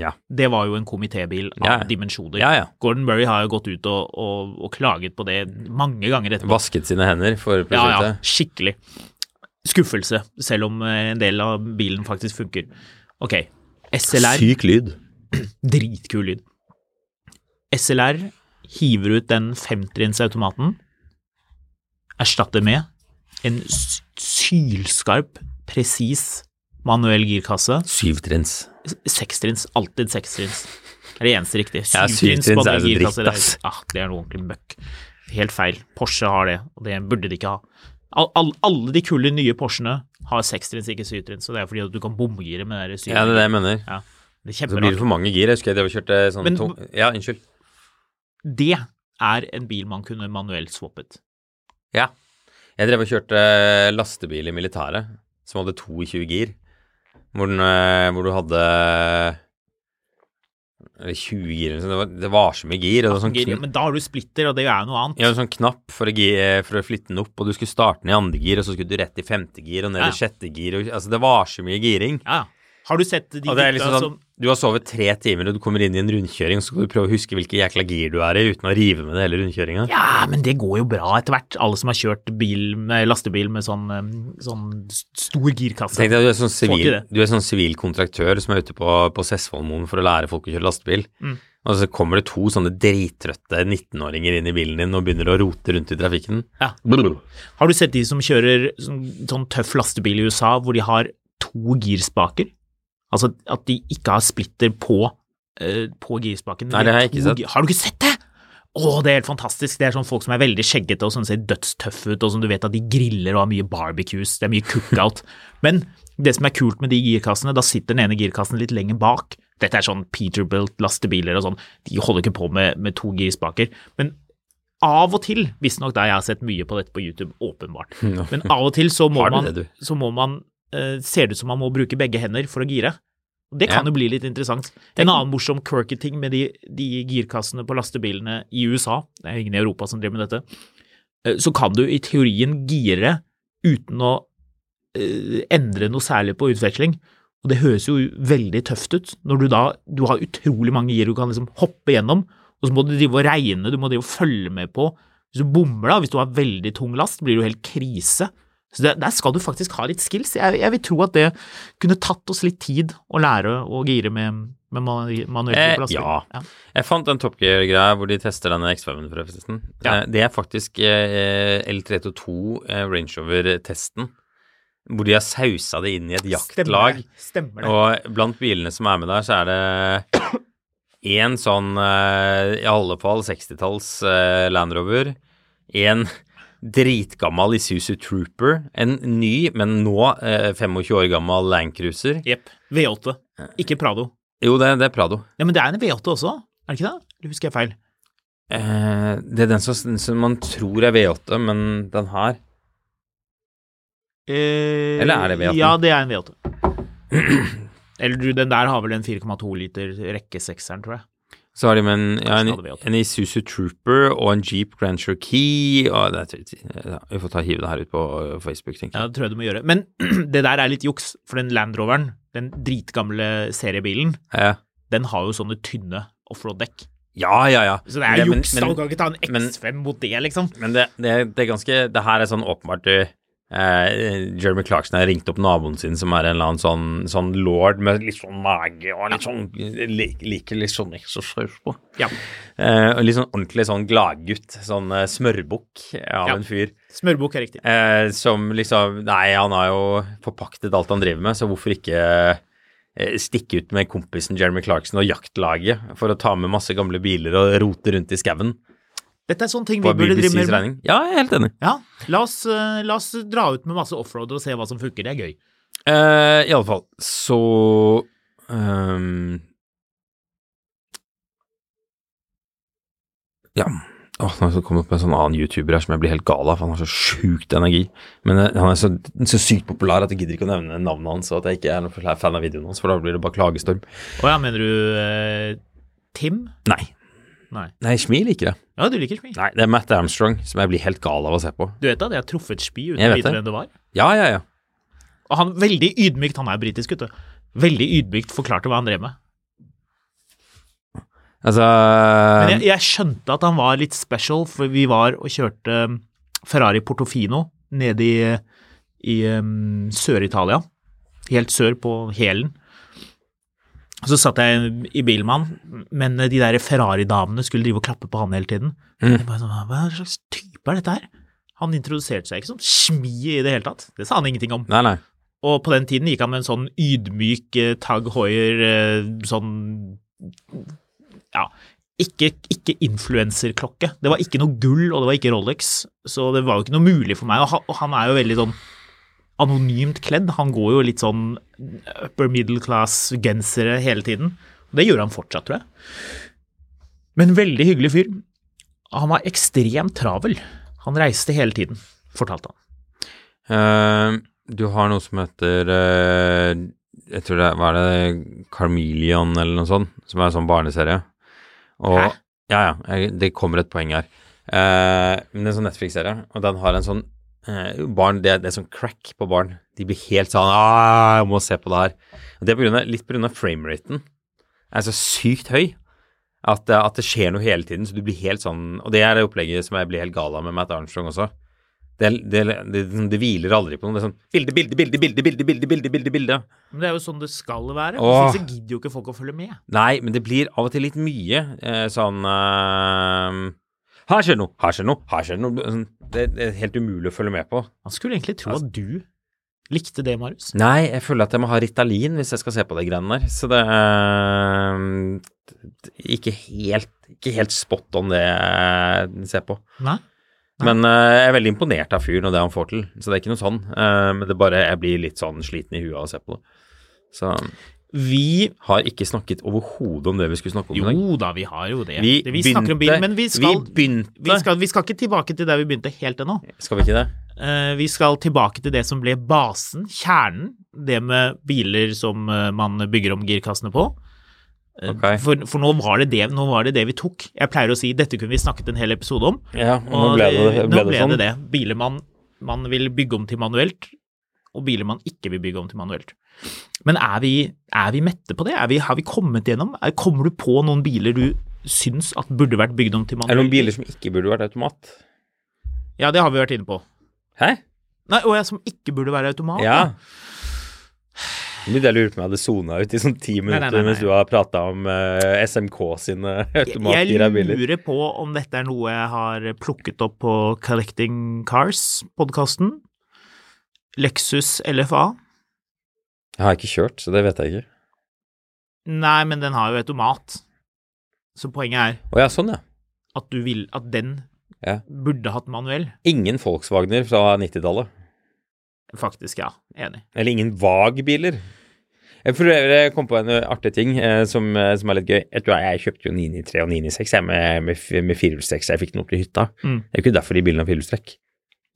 S3: Ja.
S4: det var jo en komitébil av
S3: Ja, ja.
S4: dimensjoner.
S3: Ja, ja.
S4: Gordon Murray har jo gått ut og, og, og klaget på det mange ganger etterpå.
S3: Vasket sine hender for
S4: Ja, ja,
S3: prosjektet.
S4: skikkelig. Skuffelse, selv om eh, en del av bilen faktisk funker. Ok, SLR,
S3: Syk lyd.
S4: dritkul lyd. SLR hiver ut den femtrinnsautomaten, erstatter med en s- sylskarp, presis manuell girkasse.
S3: Syvtrinns.
S4: S- Sekstrinns, alltid sekstrinns. Det er det eneste riktige.
S3: Ja, syvtrinns er jo så
S4: manuell girkasse,
S3: dritt, ass.
S4: Det er, ah, det er noe ordentlig møkk. Helt feil. Porsche har det, og det burde de ikke ha. Al- al- alle de kule nye Porschene har sekstrinns, ikke syvtrinns, og det er fordi at du kan bomgire med det der
S3: Ja, det er det jeg mener.
S4: Ja, det er
S3: Så blir det
S4: kjemperart.
S3: for mange gir. Jeg husker jeg drev og kjørte sånn
S4: Men-
S3: tung Ja, unnskyld.
S4: Det er en bil man kunne manuelt swappet.
S3: Ja. Jeg drev og kjørte eh, lastebil i militæret som hadde 22 gir, hvor, den, eh, hvor du hadde eh, eller 20 gir eller noe sånt. Det var- Det var så mye gir. Og det var sånn
S4: Gir-
S3: kn-
S4: Men da har du splitter, og det er jo noe annet.
S3: Ja, en sånn knapp for å, gi- for å flytte den opp, og du skulle starte den i andre gir, og så skulle du rett i femte gir, og ned
S4: Ja.
S3: i sjette gir, og altså det var så mye giring.
S4: Ja, ja. Har du sett de
S3: Og det er liksom
S4: gutta
S3: sånn, Du har sovet tre timer, og du kommer inn i en rundkjøring, så skal du prøve å huske hvilke jækla gir du er i, uten å rive med det hele rundkjøringa.
S4: Ja, men det går jo bra etter hvert. Alle som har kjørt bil med, lastebil med sånn, um, sånn s- stor girkasse.
S3: Tenk deg, du er sånn
S4: Får
S3: sivil,
S4: ikke det.
S3: du er sånn sivil kontraktør som er ute på, på Sessvollmoen for å lære folk å kjøre lastebil.
S4: Mm.
S3: Og så kommer det to sånne drittrøtte 19-åringer inn i bilen din og begynner å rote rundt i trafikken.
S4: Ja.
S3: Brr.
S4: Har du sett de som kjører sånn, sånn tøff lastebil i USA, hvor de har to girspaker? Altså at de ikke har splitter på, eh, på girspaken. men
S3: Nei, det har jeg
S4: de
S3: ikke
S4: to
S3: sett.
S4: gir- Har du ikke sett det? Å, det er helt fantastisk. Det er sånn folk som er veldig skjeggete og som ser dødstøffe ut, og som du vet at de griller og har mye barbecues, det er mye cookout. *laughs* Men det som er kult med de girkassene, da sitter den ene girkassen litt lenger bak. Dette er sånn Peterbilt lastebiler og sånn, de holder ikke på med, med to girspaker. Men av og til, visstnok da jeg har sett mye på dette på YouTube,
S3: *laughs*
S4: åpenbart, men av og til så må
S3: Har du
S4: man,
S3: det, du?
S4: så må man eh, ser det ut som man må bruke begge hender for å gire. Og Det kan
S3: Ja.
S4: jo bli litt interessant. En annen morsom quirky ting med de, de girkassene på lastebilene i USA, det er ingen i Europa som driver med dette, eh, så kan du i teorien gire uten å eh, endre noe særlig på utveksling. Og det høres jo veldig tøft ut når du da du har utrolig mange gir du kan liksom hoppe gjennom, og så må du drive og regne, du må drive og følge med på. Hvis du bommer, da, hvis du har veldig tung last, blir det jo helt krise. Så det, der skal du faktisk ha litt skills. Jeg, jeg vil tro at det kunne tatt oss litt tid å lære å gire med, med manu- manuelt
S3: Eh,
S4: på lastebil.
S3: ja. Jeg fant den Top Gear-greia hvor de tester denne X5-en for forresten.
S4: Ja.
S3: Eh, Det er faktisk eh, L322 eh, Range Rover-testen, hvor de har sausa det inn i et jaktlag.
S4: Stemmer det. Stemmer det.
S3: Og blant bilene som er med der, så er
S4: *coughs*
S3: det én sånn eh, i alle fall 60-talls eh, Land Rover, en dritgammal Isuzu Trooper, en ny, men nå eh, 25 år gammel Land Cruiser.
S4: Jepp. V8. Ikke Prado.
S3: Jo, det, det er Prado.
S4: Ja, men det er en V8 også, er det ikke det? Eller husker jeg feil?
S3: Eh, det er den som, som man tror er V8, men den her
S4: Eh,
S3: Eller er det V8?
S4: Ja, det er en V8. *clears throat* Eller du, den der har vel en 4,2 liter rekke sekseren, tror jeg.
S3: Så har de med en, ja,
S4: Kanskje den hadde
S3: en,
S4: V8.
S3: en Isuzu Trooper og en Jeep Grand Cherokee og det, er- ja, Vi får ta hive det her ut på eh, Facebook, tenker jeg.
S4: Ja, det tror jeg du må gjøre. Men *clears throat* det der er litt juks, for den Land Roveren, den dritgamle seriebilen,
S3: Ja.
S4: den har jo sånne tynne offroad-dekk.
S3: Ja, ja, ja.
S4: Så det er
S3: Men-
S4: juks, da.
S3: men-
S4: Du kan ikke ta en
S3: men-
S4: X5 mot det, liksom.
S3: Men det, det, det er ganske Det her er sånn åpenbart du eh, Jeremy Clarkson har ringt opp naboen sin, som er en eller annen sånn, sånn lord med litt sånn mage og litt sånn li- Liker litt sånn eksosaus på.
S4: Ja.
S3: Eh, og litt sånn ordentlig sånn gladgutt. Sånn eh, smørbukk av
S4: Ja.
S3: en fyr.
S4: Smørbukk er riktig.
S3: Eh, som liksom Nei, han har jo forpaktet alt han driver med, så hvorfor ikke eh, stikke ut med kompisen Jeremy Clarkson og jaktlaget for å ta med masse gamle biler og rote rundt i skauen?
S4: Dette er sånne ting vi
S3: På
S4: burde drive
S3: BBCs
S4: mer med.
S3: regning. Ja, jeg er helt enig.
S4: Ja, la oss, eh, la oss dra ut med masse offroad og se hva som funker. Det er gøy.
S3: Eh, I alle fall, så ehm, Ja. Åh, nå har jeg kommet opp med en sånn annen YouTuber her som jeg blir helt gal av, for han har så sjukt energi. Men eh, han er så, så sykt populær at jeg gidder ikke å nevne navnet hans, og at jeg ikke er noen forferdelig fan av videoen hans, for da blir det bare klagestorm.
S4: Å ja, mener du eh, Tim?
S3: Nei.
S4: Nei.
S3: Nei, Shmi liker det.
S4: Ja, du liker Smi.
S3: Nei, det er Matt Armstrong som jeg blir helt gal av å se på.
S4: Du vet at jeg har truffet Spi uten
S3: Jeg
S4: å
S3: vet
S4: vite
S3: det.
S4: hvem det var?
S3: Ja, ja, ja.
S4: Og han veldig ydmykt, han er britisk, vet du. Veldig ydmykt forklarte hva han drev med.
S3: Altså
S4: Men jeg, jeg skjønte at han var litt special, for vi var og kjørte um, Ferrari Portofino nede i, i um, Sør-Italia. Helt sør på Helen. Og Så satt jeg i bilen med han, men de der Ferrari-damene skulle drive og klappe på han hele tiden.
S3: Mm.
S4: Jeg bare sånn, Hva slags type er dette her? Han introduserte seg ikke som smi i det hele tatt. Det sa han ingenting om.
S3: Nei, nei.
S4: Og på den tiden gikk han med en sånn ydmyk eh, Tag Hoier, eh, sånn Ja, ikke, ikke influenserklokke. Det var ikke noe gull, og det var ikke Rolex, så det var jo ikke noe mulig for meg. Og han, og han er jo veldig sånn anonymt kledd. Han går jo litt sånn upper middle class-gensere hele tiden. Og det gjør han fortsatt, tror jeg. Men veldig hyggelig fyr. Han var ekstremt travel. Han reiste hele tiden, fortalte han.
S3: Eh, du har noe som heter eh, Jeg tror det er, hva er det, Carmelian eller noe sånt, som er en sånn barneserie. Og,
S4: Hæ?
S3: Ja, ja, jeg, det kommer et poeng her. Eh, men det er en sånn Netflix-serie, og den har en sånn eh, barn, det, er- det er sånn crack på barn. De blir helt sånn «Ah, jeg må se på det her. Og det er på grunn av, litt pga. frameraten. er så sykt høy at, eh, at det skjer noe hele tiden. Så du blir helt sånn Og det er det opplegget som jeg blir helt gal av med Matt Armstrong også. Det, er- det, er- det, er sånn- det hviler aldri på noe. Det er sånn bilde, bilde, bilde, bilde, bilde, bilde, bilde, bilde, bilde.
S4: Men det er jo sånn det skal være.
S3: Åh.
S4: Så så gidder jo ikke folk å følge med.
S3: Nei, men det blir av og til litt mye eh, sånn eh, Her skjer det noe, her skjer det noe, her skjer det noe. Sånn, Det, det er helt umulig å følge med på.
S4: Man skulle egentlig tro at du likte det, Marius.
S3: Nei, jeg føler at jeg må ha Ritalin hvis jeg skal se på de greiene der. Så det er ikke helt, ikke helt spot on det jeg ser på.
S4: Nei?
S3: Men eh, jeg er veldig imponert av fyren og det han får til, så det er ikke noe sånn. Eh, men det er bare jeg blir litt sånn sliten i huet av å se på det. Så
S4: Vi
S3: har ikke snakket overhodet om det vi skulle snakke om i dag.
S4: Jo da, vi har jo det.
S3: Vi,
S4: Det-
S3: begynte,
S4: snakker om bil, men vi skal
S3: vi begynte
S4: vi skal, vi skal ikke tilbake til der vi begynte helt ennå.
S3: Skal vi ikke det?
S4: Eh, vi skal tilbake til det som ble basen, kjernen. Det med biler som eh, man bygger om girkassene på. Eh,
S3: Ok.
S4: For, for nå, var det det, nå var det det vi tok. Jeg pleier å si dette kunne vi snakket en hel episode om.
S3: Ja, og nå ble det,
S4: nå
S3: ble det sånn.
S4: det Biler man, man vil bygge om til manuelt, og biler man ikke vil bygge om til manuelt. Men er vi, er vi mette på det? Er vi, har vi kommet gjennom? Er, kommer du på noen biler du syns at burde vært bygd om til
S3: Er det
S4: manuelt?
S3: noen biler som ikke burde vært automat?
S4: Ja, det har vi vært inne på.
S3: Hæ?
S4: Nei, og jeg som ikke burde være automat.
S3: Ja.
S4: da.
S3: Det er litt jeg lurer på om jeg hadde sona ut i sånn ti minutter
S4: nei, nei.
S3: mens du har prata om eh, SMK sine automatgira
S4: Jeg
S3: biler.
S4: lurer på om dette er noe jeg har plukket opp på Collecting Cars-podkasten. Lexus LFA.
S3: Jeg har ikke kjørt, så det vet jeg ikke.
S4: Nei, men den har jo automat. Så poenget er
S3: Å ja, sånn, ja.
S4: at du vil at den
S3: Ja.
S4: burde hatt manuell.
S3: Ingen Volkswagener fra 90-tallet.
S4: Faktisk, ja. Enig.
S3: Eller ingen Vag-biler. Jeg for øvrig kom på en artig ting eh, som, eh, som er litt gøy. Jeg tror jeg kjøpte jo 993 og 996 jeg, med, med, f- med firehjulstrekk, så jeg fikk den opp til hytta.
S4: Mm.
S3: Det er jo ikke derfor de bilene har firehjulstrekk.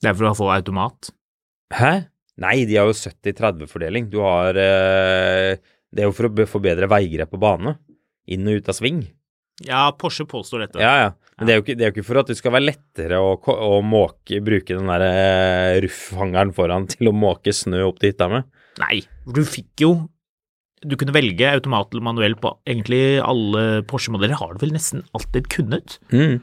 S4: Det er for å få automat.
S3: Hæ? Nei, de har jo 70-30-fordeling. Du har eh, Det er jo for å be- forbedre veigrep på bane. Inn og ut av sving.
S4: Ja, Porsche påstår dette.
S3: Ja, ja. Men det er jo ikke, det er jo ikke for at det skal være lettere å, ko- å måke, bruke den der eh, ruffhangeren foran *laughs* til å måke snø opp til hytta med.
S4: Nei, du fikk jo Du kunne velge automat eller manuell på egentlig alle Porsche-modeller. Har du vel nesten alltid kunnet?
S3: Mm.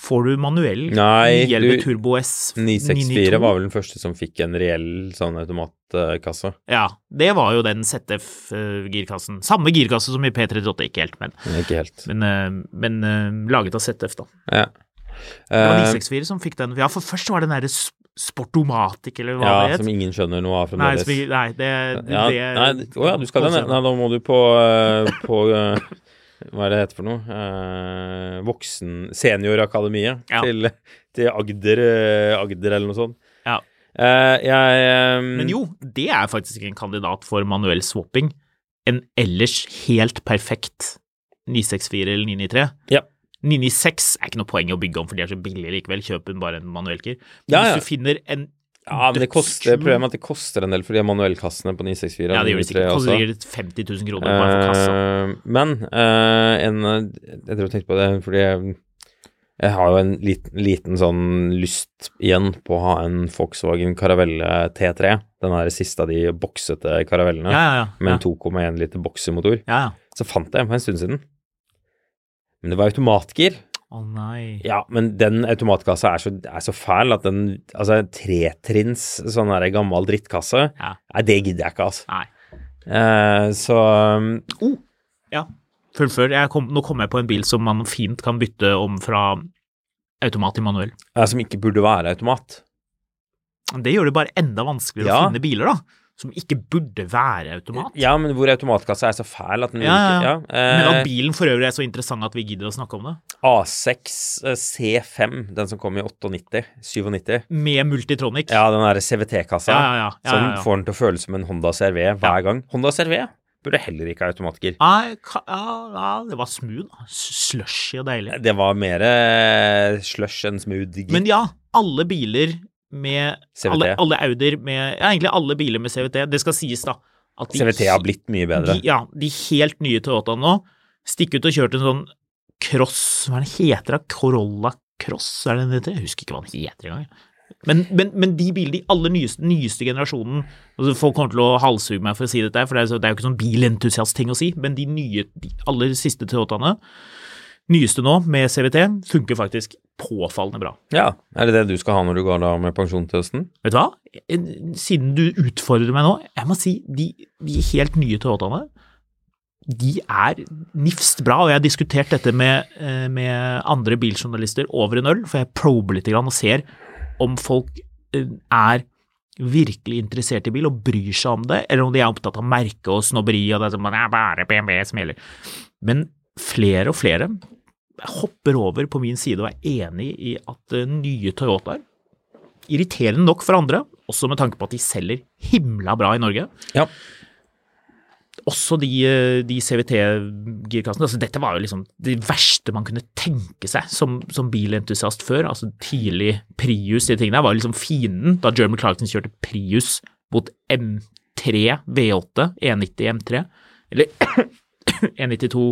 S4: Får du manuell
S3: Nei,
S4: 911
S3: du-
S4: Turbo S
S3: 964
S4: 992?
S3: var vel den første som fikk en reell sånn automatkasse.
S4: Ja, det var jo den ZF-girkassen. Samme girkasse som i P38, ikke helt, men,
S3: Men Ikke helt.
S4: men, eh, men eh, laget av ZF, da.
S3: Ja.
S4: Det var
S3: Eh,
S4: 964 som fikk den. Ja, for først var det den derre sp- Sportomatic, eller hva
S3: Eh, ja,
S4: det het.
S3: som ingen skjønner noe av
S4: Nei,
S3: fremdeles.
S4: som, ikke- nei, det,
S3: Ja,
S4: det
S3: nei, å ja, du skal det. Nei, da må du på, eh, på eh, Hva er det det heter for noe? Eh, voksen Seniorakademiet
S4: Ja.
S3: til, til Agder, eh, Agder eller noe sånt.
S4: Ja.
S3: Eh, jeg eh,
S4: Men jo, det er faktisk en kandidat for manuell swapping. En ellers helt perfekt 964 eller 993.
S3: Ja.
S4: 996 er ikke noe poeng å bygge om, for de er så billige likevel. Kjøp en bare en manuell gir. Men
S3: Ja, ja.
S4: hvis du finner en
S3: ja, men det koster,
S4: dødskul-
S3: problemet er at det koster en del for de manuellkassene på 964.
S4: Ja, det gjør det sikkert. Det Koster
S3: også.
S4: sikkert 50 000 kroner bare for kassa.
S3: Eh, men eh, en eh, Jeg tror jeg tenkte på det fordi jeg, jeg har jo en liten, liten sånn lyst igjen på å ha en Volkswagen Caravelle T3. Den her siste av de boksete karavellene
S4: Ja, ja,
S3: med
S4: ja.
S3: en 2,1 liter boksemotor.
S4: ja, ja.
S3: Så fant jeg en for en stund siden. Men det var automatgir.
S4: Å nei.
S3: Ja, men den automatkassa er så, er så fæl at den Altså, tretrinns sånn der gammel drittkasse
S4: Ja.
S3: Nei, det gidder jeg ikke, altså.
S4: Nei.
S3: Eh, så um,
S4: Ja. Fullfør. Jeg kom, nå kom jeg på en bil som man fint kan bytte om fra automat til manuell.
S3: eh, Som ikke burde være automat.
S4: Det gjør det bare enda vanskeligere
S3: Ja.
S4: å finne biler, da. Som ikke burde være automat.
S3: Ja, men hvor automatkassa er så fæl at den
S4: Ja, ja, ja.
S3: ikke
S4: Men
S3: ja.
S4: at bilen for øvrig er så interessant at vi gidder å snakke om det.
S3: eh, A6 eh, C5, den som kom i 98, 97.
S4: Med Multitronic.
S3: Ja, den derre CVT-kassa
S4: Ja, ja, ja. Ja,
S3: som
S4: ja, ja.
S3: får den til å føles som en Honda CRV hver gang. Honda CRV burde heller ikke ha automatgir.
S4: Nei, ka, ja, ja, det var smooth. da. S- Slushy og deilig.
S3: Det var mer eh, slush enn smooth gir.
S4: Ah. Men ja, alle biler med
S3: CVT.
S4: Alle, alle Audier med Ja, egentlig alle biler med CVT. Det skal sies, da. At
S3: CVT har blitt mye bedre.
S4: De, ja, de helt nye Toyotaene nå. Stikk ut og kjørte en sånn cross Hva er det den heter? da? Corolla Cross, er det den heter? Jeg husker ikke hva den heter engang. Men, men, men de bilene, de aller nyeste, nyeste generasjonen altså Folk kommer til å halshugge meg for å si dette, for det er, så, det er jo ikke sånn bilentusiast-ting å si, men de nye, de aller siste Toyotaene, nyeste nå med CVT, funker faktisk påfallende bra.
S3: Ja. Er det det du skal ha når du går da med pensjon til høsten?
S4: Vet du hva? En- Siden du utfordrer meg nå, jeg må si de, de helt nye Toyotaene, de er nifst bra, og jeg har diskutert dette med, eh, med andre biljournalister over en øl, for jeg prober litt grann og ser om folk eh, er virkelig interessert i bil og bryr seg om det, eller om de er opptatt av merke og snobberi og det er sånn, det er bare BMW som gjelder. Men flere og flere hopper over på min side og er enig i at eh, nye Toyotaer irriterende nok for andre, også med tanke på at de selger himla bra i Norge.
S3: Ja.
S4: Også de, eh, de CVT-girkassene. Altså, dette var jo liksom det verste man kunne tenke seg som, som bilentusiast før. Altså tidlig Prius, de tingene der, var liksom fienden da Jeremy Clarkson kjørte Prius mot M3 V8, E90 M3, eller E92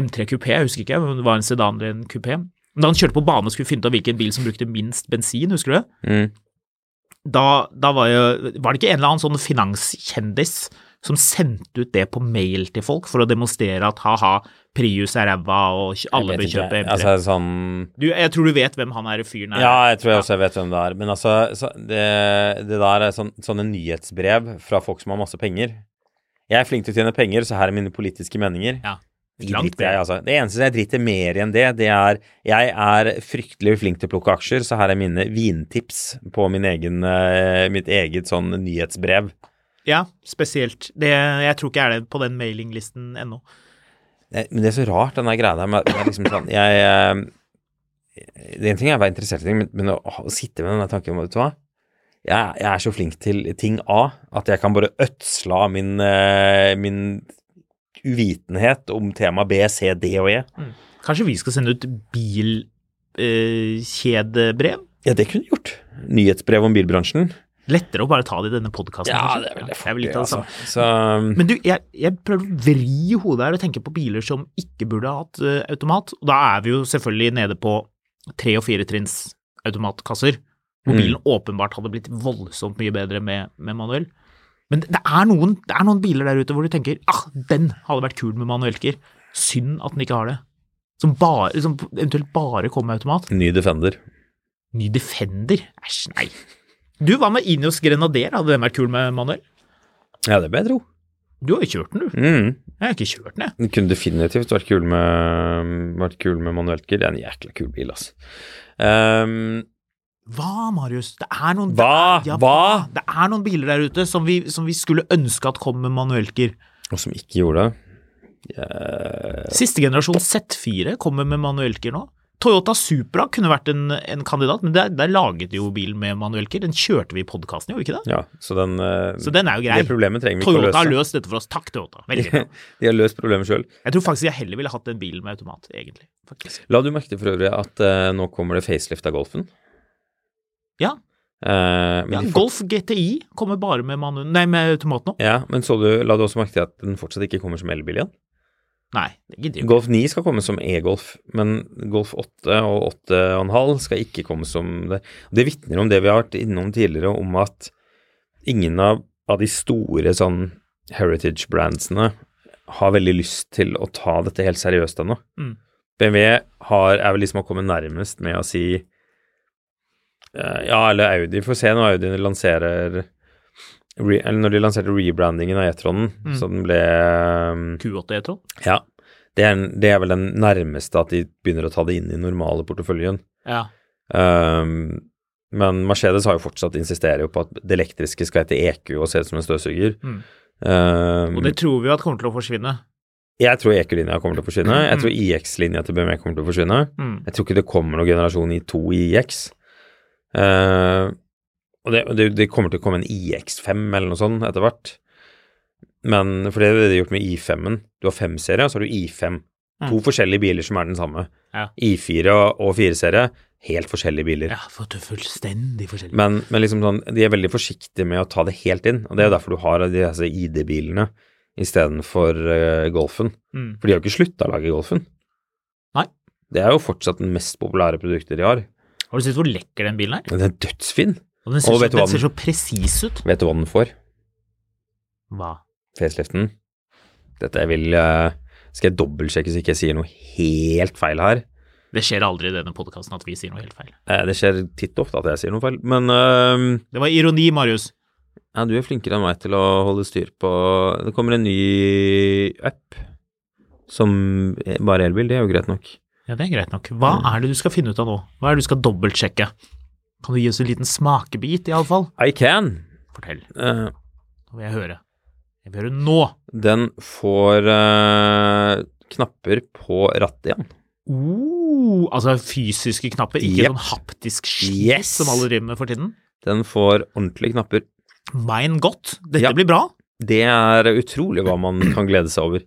S4: M3 kupé, jeg husker ikke, men det var en sedan eller en kupé. Da han kjørte på bane og skulle finne ut av hvilken bil som brukte minst bensin, husker du det?
S3: Mm.
S4: da, da var, jo, var det ikke en eller annen sånn finanskjendis som sendte ut det på mail til folk for å demonstrere at ha-ha, Prius er ræva og alle bør kjøpe M3.
S3: Altså sånn
S4: du, jeg tror du vet hvem han er fyren er.
S3: Ja, jeg tror jeg også jeg vet hvem det er. Men altså, så, det, det der er sånn, sånne nyhetsbrev fra folk som har masse penger. Jeg er flink til å tjene penger, så her er mine politiske meninger.
S4: Ja.
S3: De
S4: Langt
S3: driter jeg, i, altså. Det eneste jeg driter mer i enn det, det er Jeg er fryktelig flink til å plukke aksjer, så her er mine vintips på min egen, eh, mitt eget sånn nyhetsbrev.
S4: ja, spesielt. Det, jeg tror ikke jeg er det på den mailinglisten ennå.
S3: Nei, Men det er så rart, den der greia der med det er liksom sånn, jeg, eh, Det er en ting jeg er interessert i, ting, men, men å, å sitte med den der tanken om Vet du hva? Jeg, jeg er så flink til ting A at jeg kan bare ødsle av min, eh, min uvitenhet om tema B, C, D og E.
S4: Kanskje vi skal sende ut eh, bilkjedebrev?
S3: Ja, det kunne du gjort. Nyhetsbrev om bilbransjen.
S4: Lettere å bare ta det i denne podkasten. jeg vil litt av det samme.
S3: altså. Så,
S4: Men du, jeg, jeg prøver å vri hodet her og tenke på biler som ikke burde ha hatt eh, automat. Og da er vi jo selvfølgelig nede på tre- og firetrinns automatkasser, hvor bilen åpenbart hadde blitt voldsomt mye bedre med, med manuell. Men det er, noen, det er noen biler der ute hvor du tenker ah, den hadde vært kul med manuellker. Synd at den ikke har det. Som, bare, som eventuelt bare kommer med automat.
S3: um, ny Defender.
S4: Ny Defender? Æsj, nei. Du, hva med Ineos Grenader? Hadde den vært kul med manuell?
S3: Ja, det vil jeg tro.
S4: Du har jo kjørt den, du.
S3: Mm.
S4: Jeg har ikke kjørt den, jeg.
S3: Den kunne definitivt vært kul med, vært kul med manuelt gir. Det er en jækla kul bil, altså. Ehm,
S4: Hva, Marius? Det er noen
S3: Hva?
S4: Det er,
S3: Hva?
S4: Det er noen biler der ute som vi, som vi skulle ønske at kom med manuellgir.
S3: og som ikke gjorde det.
S4: Siste generasjon Z4 kommer med manuellgir nå. Toyota Supra kunne vært en, en kandidat, men der, der laget jo bilen med manuellgir. Den kjørte vi i podkasten, gjorde vi ikke det?
S3: Ja, så den, eh,
S4: Så den er jo grei.
S3: Det problemet trenger vi ikke å
S4: Toyota har
S3: løse.
S4: løst dette for oss. Takk, Toyota. Veldig
S3: *laughs*
S4: bra.
S3: *laughs* De har løst problemet sjøl.
S4: Jeg tror faktisk jeg heller ville hatt den bilen med automat, egentlig. Faktisk.
S3: La du merke til for øvrig at eh, nå kommer det facelift av Golfen?
S4: Ja.
S3: Eh, men
S4: ja.
S3: de får-
S4: Golf GTI kommer bare med, manu nei, med automat nå.
S3: Ja, men så du, la du også merke til at den fortsatt ikke kommer som elbil igjen?
S4: Nei, det gidder jo ikke.
S3: Golf 9 skal komme som e-golf, men Golf 8 og 8,5 skal ikke komme som det. Det vitner om det vi har vært innom tidligere, om at ingen av, av de store sånn heritage-brandsene har veldig lyst til å ta dette helt seriøst ennå.
S4: Mm.
S3: BMW har, er vel de som har kommet nærmest med å si eh, ja, eller Audi. Får se når Audi lanserer re, eller når de lanserte rebrandingen av E-tronen, så den ble eh,
S4: Q8 E-tron.
S3: ja. Det er, det er vel den nærmeste at de begynner å ta det inn i normale porteføljen.
S4: Ja.
S3: Ehm, men Mercedes har jo fortsatt insisterer jo på at det elektriske skal hete EQ og se ut som en støvsuger.
S4: Mm.
S3: Ehm,
S4: Og det tror vi jo at kommer til å forsvinne.
S3: jeg tror EQ-linja kommer til å forsvinne. Jeg tror IX-linja til BMW kommer til å forsvinne.
S4: Mm.
S3: Jeg tror ikke det kommer noen generasjon i to IX. Ehm, og det, og det, det kommer til å komme en IX5 eller noe sånt etter hvert. Men for det er det de har gjort med I5-en. Du har 5-serie, og så har du I5. To forskjellige biler som er den samme.
S4: Mm. Ja.
S3: I4 og og 4-serie, helt forskjellige biler.
S4: Ja, for det er fullstendig forskjellig.
S3: Men, men liksom sånn, de er veldig forsiktige med å ta det helt inn, og det
S4: Mm.
S3: er derfor du har de disse ID-bilene istedenfor uh, Golfen.
S4: Mm.
S3: For de har jo ikke slutta å lage Golfen.
S4: Nei.
S3: Det er jo fortsatt den mest populære produktet de har.
S4: Har du sett hvor lekker den bilen er?
S3: Den er dødsfin.
S4: Og den ser,
S3: Og
S4: så,
S3: vet du hva
S4: den ser
S3: den-
S4: så presis ut.
S3: Vet du hva den får?
S4: Hva?
S3: Faceliften. Dette vil eh, Skal jeg dobbeltsjekke så ikke jeg sier noe helt feil her.
S4: Det skjer aldri i denne podkasten at vi sier noe helt feil.
S3: Eh, det skjer titt ofte at jeg sier noe feil, men eh,
S4: Det var ironi, Marius.
S3: ja, du er flinkere enn meg til å holde styr på Det kommer en ny app som bare elbil, det er jo greit nok.
S4: Ja, det er greit nok. Hva
S3: Mm.
S4: er det du skal finne ut av nå? Hva er det du skal dobbeltsjekke? Kan du gi oss en liten smakebit, iallfall?
S3: I can.
S4: Fortell.
S3: Eh,
S4: Nå vil jeg høre. Jeg vil høre nå.
S3: Den får eh, knapper på rattet igjen.
S4: Uh, altså fysiske knapper, ikke
S3: Yep.
S4: sånn haptisk shit
S3: Yes.
S4: som alle driver med for tiden.
S3: Den får ordentlige knapper.
S4: Mein godt. Dette
S3: Ja.
S4: blir bra.
S3: Det er utrolig hva man kan glede seg over.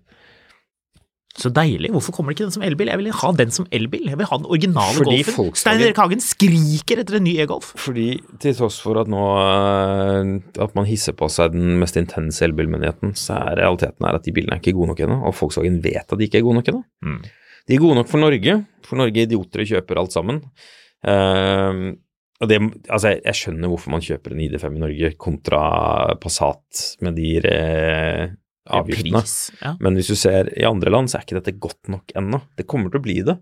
S4: Så deilig. Hvorfor kommer det ikke den som elbil? Jeg vil ha den som elbil. Jeg vil ha den originale
S3: Fordi
S4: Golfen.
S3: Volkswagen-
S4: Stein Erik Hagen skriker etter en ny e-Golf.
S3: Fordi til tross for at nå eh, at man hisser på seg den mest intense elbilmyndigheten, så er realiteten her at de bilene er ikke gode nok ennå, og Volkswagen vet at de ikke er gode nok ennå. De er gode nok for Norge, for Norge idioter kjøper alt sammen. Eh, og det, altså jeg, jeg skjønner hvorfor man kjøper en ID5 i Norge kontra Passat med de eh, avgiftene.
S4: Pris. Ja.
S3: Men hvis du ser i andre land, så er ikke dette godt nok ennå. Det kommer til å bli det.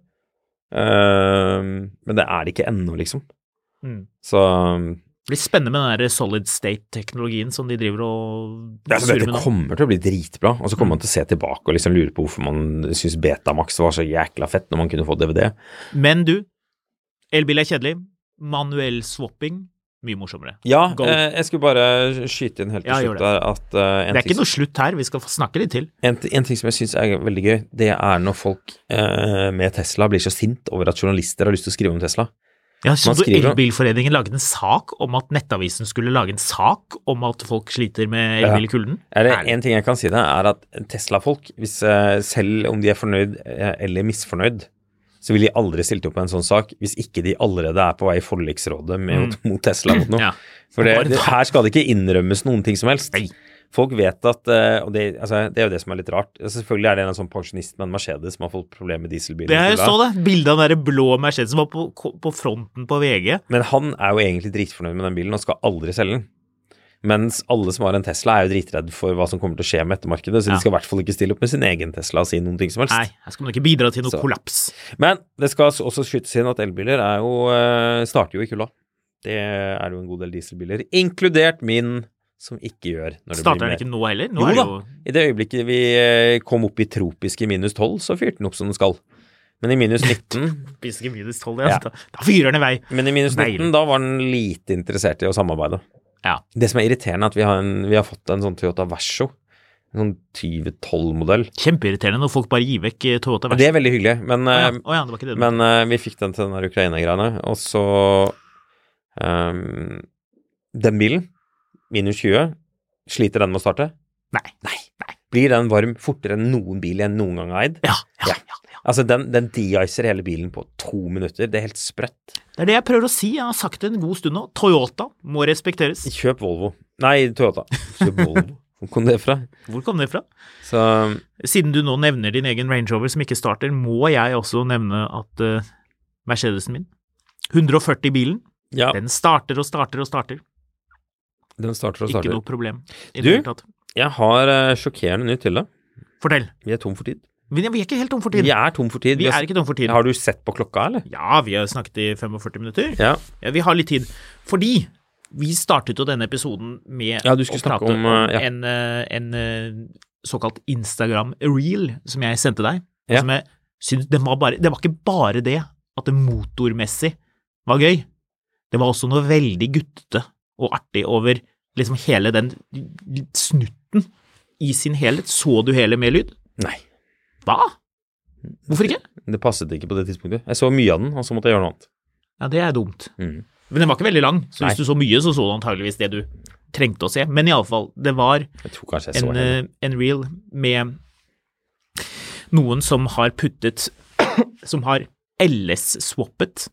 S3: Ehm, men det er det ikke ennå, liksom.
S4: Mm.
S3: Så um,
S4: Det blir spennende med den der solid state-teknologien som de driver og
S3: altså,
S4: surrer
S3: Dette
S4: med nå.
S3: kommer til å bli dritbra. Og så kommer
S4: Mm.
S3: man til å se tilbake og liksom lure på hvorfor man syns Betamax var så jækla fett når man kunne få DVD.
S4: Men du, elbil er kjedelig. Manuell swapping, mye morsommere.
S3: Ja,
S4: Go.
S3: eh, jeg skulle bare skyte inn helt til
S4: Ja, gjør
S3: slutt der at eh, en,
S4: Det er ikke
S3: ting,
S4: noe slutt her, vi skal få snakke litt til.
S3: en, en ting som jeg syns er veldig gøy, det er når folk eh, med Tesla blir så sint over at journalister har lyst til å skrive om Tesla.
S4: Ja, så
S3: Man
S4: du
S3: skriver-
S4: Elbilforeningen laget en sak om at Nettavisen skulle lage en sak om at folk sliter med elbil i kulden?
S3: Er det
S4: Herlig.
S3: En ting jeg kan si det, er at Tesla-folk, hvis, eh, selv om de er fornøyd eh, eller misfornøyd, så ville de aldri stilt opp med en sånn sak hvis ikke de allerede er på vei i forliksrådet med, mot Tesla mot noe.
S4: Mm. Ja.
S3: For det,
S4: Bare
S3: det,
S4: ta-
S3: her skal det ikke innrømmes noen ting som helst.
S4: Nei.
S3: Folk vet at eh, og det, altså, det er jo det som er litt rart. Selvfølgelig er det en eller annen sånn pensjonist med en Mercedes som har fått problemer med dieselbilen.
S4: Det er jo
S3: til da.
S4: så det. Bildet av den der blå Mercedesen var på, på fronten på VG.
S3: Men han er jo egentlig dritfornøyd med den bilen og skal aldri selge den. Mens alle som har en Tesla er jo dritredd for hva som kommer til å skje med ettermarkedet, så
S4: Ja.
S3: de skal i hvert fall ikke stille opp med sin egen Tesla og si noen ting som helst.
S4: Nei, her skal man ikke bidra til noe
S3: Så.
S4: kollaps.
S3: Men det skal også skytes inn at elbiler er jo, eh, starter jo i kulda. Det er jo en god del dieselbiler, inkludert min, som ikke gjør. Når det
S4: Starter
S3: blir
S4: den
S3: mer.
S4: ikke nå heller? Nå
S3: Jo
S4: er det
S3: da.
S4: jo
S3: I det øyeblikket vi eh, kom opp i tropiske minus 12, så fyrte den opp som den skal. Men i minus 19
S4: Biske minus 12, ja. Da, da fyrer den i vei.
S3: Men i minus
S4: Deilig.
S3: 19, da var den lite interessert i å samarbeide.
S4: Ja.
S3: Det som er irriterende, er at vi har, en, vi har fått en sånn Toyota Verso. En sånn 2012-modell.
S4: Kjempeirriterende når folk bare gir vekk eh, Toyota
S3: Det
S4: Versa.
S3: er veldig hyggelig, men,
S4: Å ja.
S3: eh,
S4: å ja, det var ikke det. du-
S3: men eh, vi fikk den til den der Ukraina-greiene. Og så ehm, Den bilen, minus 20, sliter den med å starte?
S4: Nei.
S3: Blir den varm fortere enn noen bil jeg noen gang har eid?
S4: Ja, ja,
S3: Ja.
S4: ja, ja.
S3: Altså, den, den de-icer hele bilen på to minutter. Det er helt sprøtt.
S4: Det er det jeg prøver å si. Jeg har sagt det en god stund nå. Toyota må respekteres.
S3: Kjøp Volvo. Nei, Toyota. Kjøp
S4: *laughs*
S3: Volvo. Hvor kom det fra?
S4: Hvor kom det fra?
S3: Så
S4: Siden du nå nevner din egen Range Rover som ikke starter, må jeg også nevne at eh, Mercedesen min, 140 bilen,
S3: ja,
S4: den starter og starter og starter.
S3: den starter og
S4: Ikke
S3: starter.
S4: noe problem. I det
S3: Du?
S4: hele tatt.
S3: Jeg har eh, sjokkerende nytt til deg.
S4: Fortell.
S3: Vi er tom for tid.
S4: Vi vi er ikke helt tom for tid.
S3: Vi er tom for tid.
S4: Vi
S3: har-
S4: er ikke tom for tid.
S3: Har du sett på klokka, eller?
S4: Ja, vi har snakket i 45 minutter.
S3: Ja.
S4: Ja, vi har litt tid. Fordi vi startet jo denne episoden med
S3: Ja, du skulle
S4: å prate
S3: snakke om, eh, ja.
S4: en, eh, en eh, såkalt Instagram-reel som jeg sendte deg.
S3: Ja.
S4: Som jeg synes, det, var bare, det var ikke bare det at det motormessig var gøy. Det var også noe veldig guttete og artig over liksom hele den snutten i sin helhet. Så du hele med lyd?
S3: Nei.
S4: Hva? Hvorfor ikke?
S3: Det passet ikke på det tidspunktet. Jeg så mye av den, og så måtte jeg gjøre noe annet.
S4: Ja, det er dumt.
S3: Mhm.
S4: Men den var ikke veldig lang, så
S3: Nei.
S4: hvis du så mye, så så du antageligvis det du trengte å se. Men iallfall, det var
S3: Jeg tror kanskje jeg så
S4: en,
S3: henne.
S4: eh, en reel med noen som har puttet *coughs* Som har LS-swappet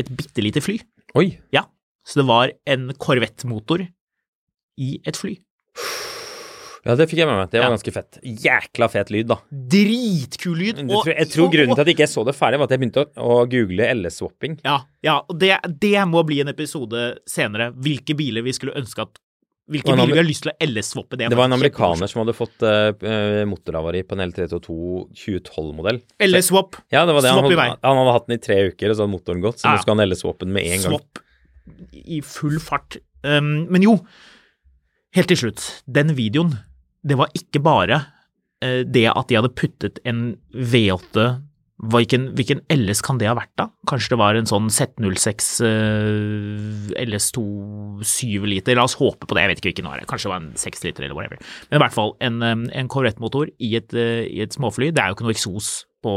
S4: et bitte lite fly.
S3: Oi.
S4: Ja, så det var en Corvette-motor i et fly.
S3: Ja, det fikk jeg med meg. Det var
S7: Ja.
S3: ganske fett. Jækla fet lyd, da.
S4: Dritkul lyd!
S3: Jeg Mm,
S4: og-
S3: tror, jeg tror
S4: og-
S3: grunnen til at jeg ikke så det ferdig, var at jeg begynte å, å google LS-swapping.
S4: Ja, ja og det, det må bli en episode senere. Hvilke biler vi skulle ønske at Hvilke
S3: Og en
S4: biler vi
S3: amer-
S4: har lyst til å LS-swappe.
S3: Det var en amerikaner som hadde fått eh, eh, motorhavari på en L322 2012-modell.
S4: LS-swap.
S3: Ja, det var det. Han,
S4: Swap i
S3: holdt,
S4: vei.
S3: han hadde hatt den i tre uker, og så hadde motoren gått, så
S4: Ja.
S3: nå skal han LS-swappe den med en gang.
S4: Swap i full fart. Um, men jo, helt til slutt. Den videoen, det var ikke bare eh, det at de hadde puttet en V8 hvilken, hvilken LS kan det ha vært, da? Kanskje det var en sånn Z06 eh, LS2 7 liter? La oss håpe på det, jeg vet ikke hvilken det var. Kanskje det var en 6 liter eller whatever. Men i hvert fall en, um, en Corvette-motor i, et, eh, i et småfly. Det er jo ikke noe eksos på,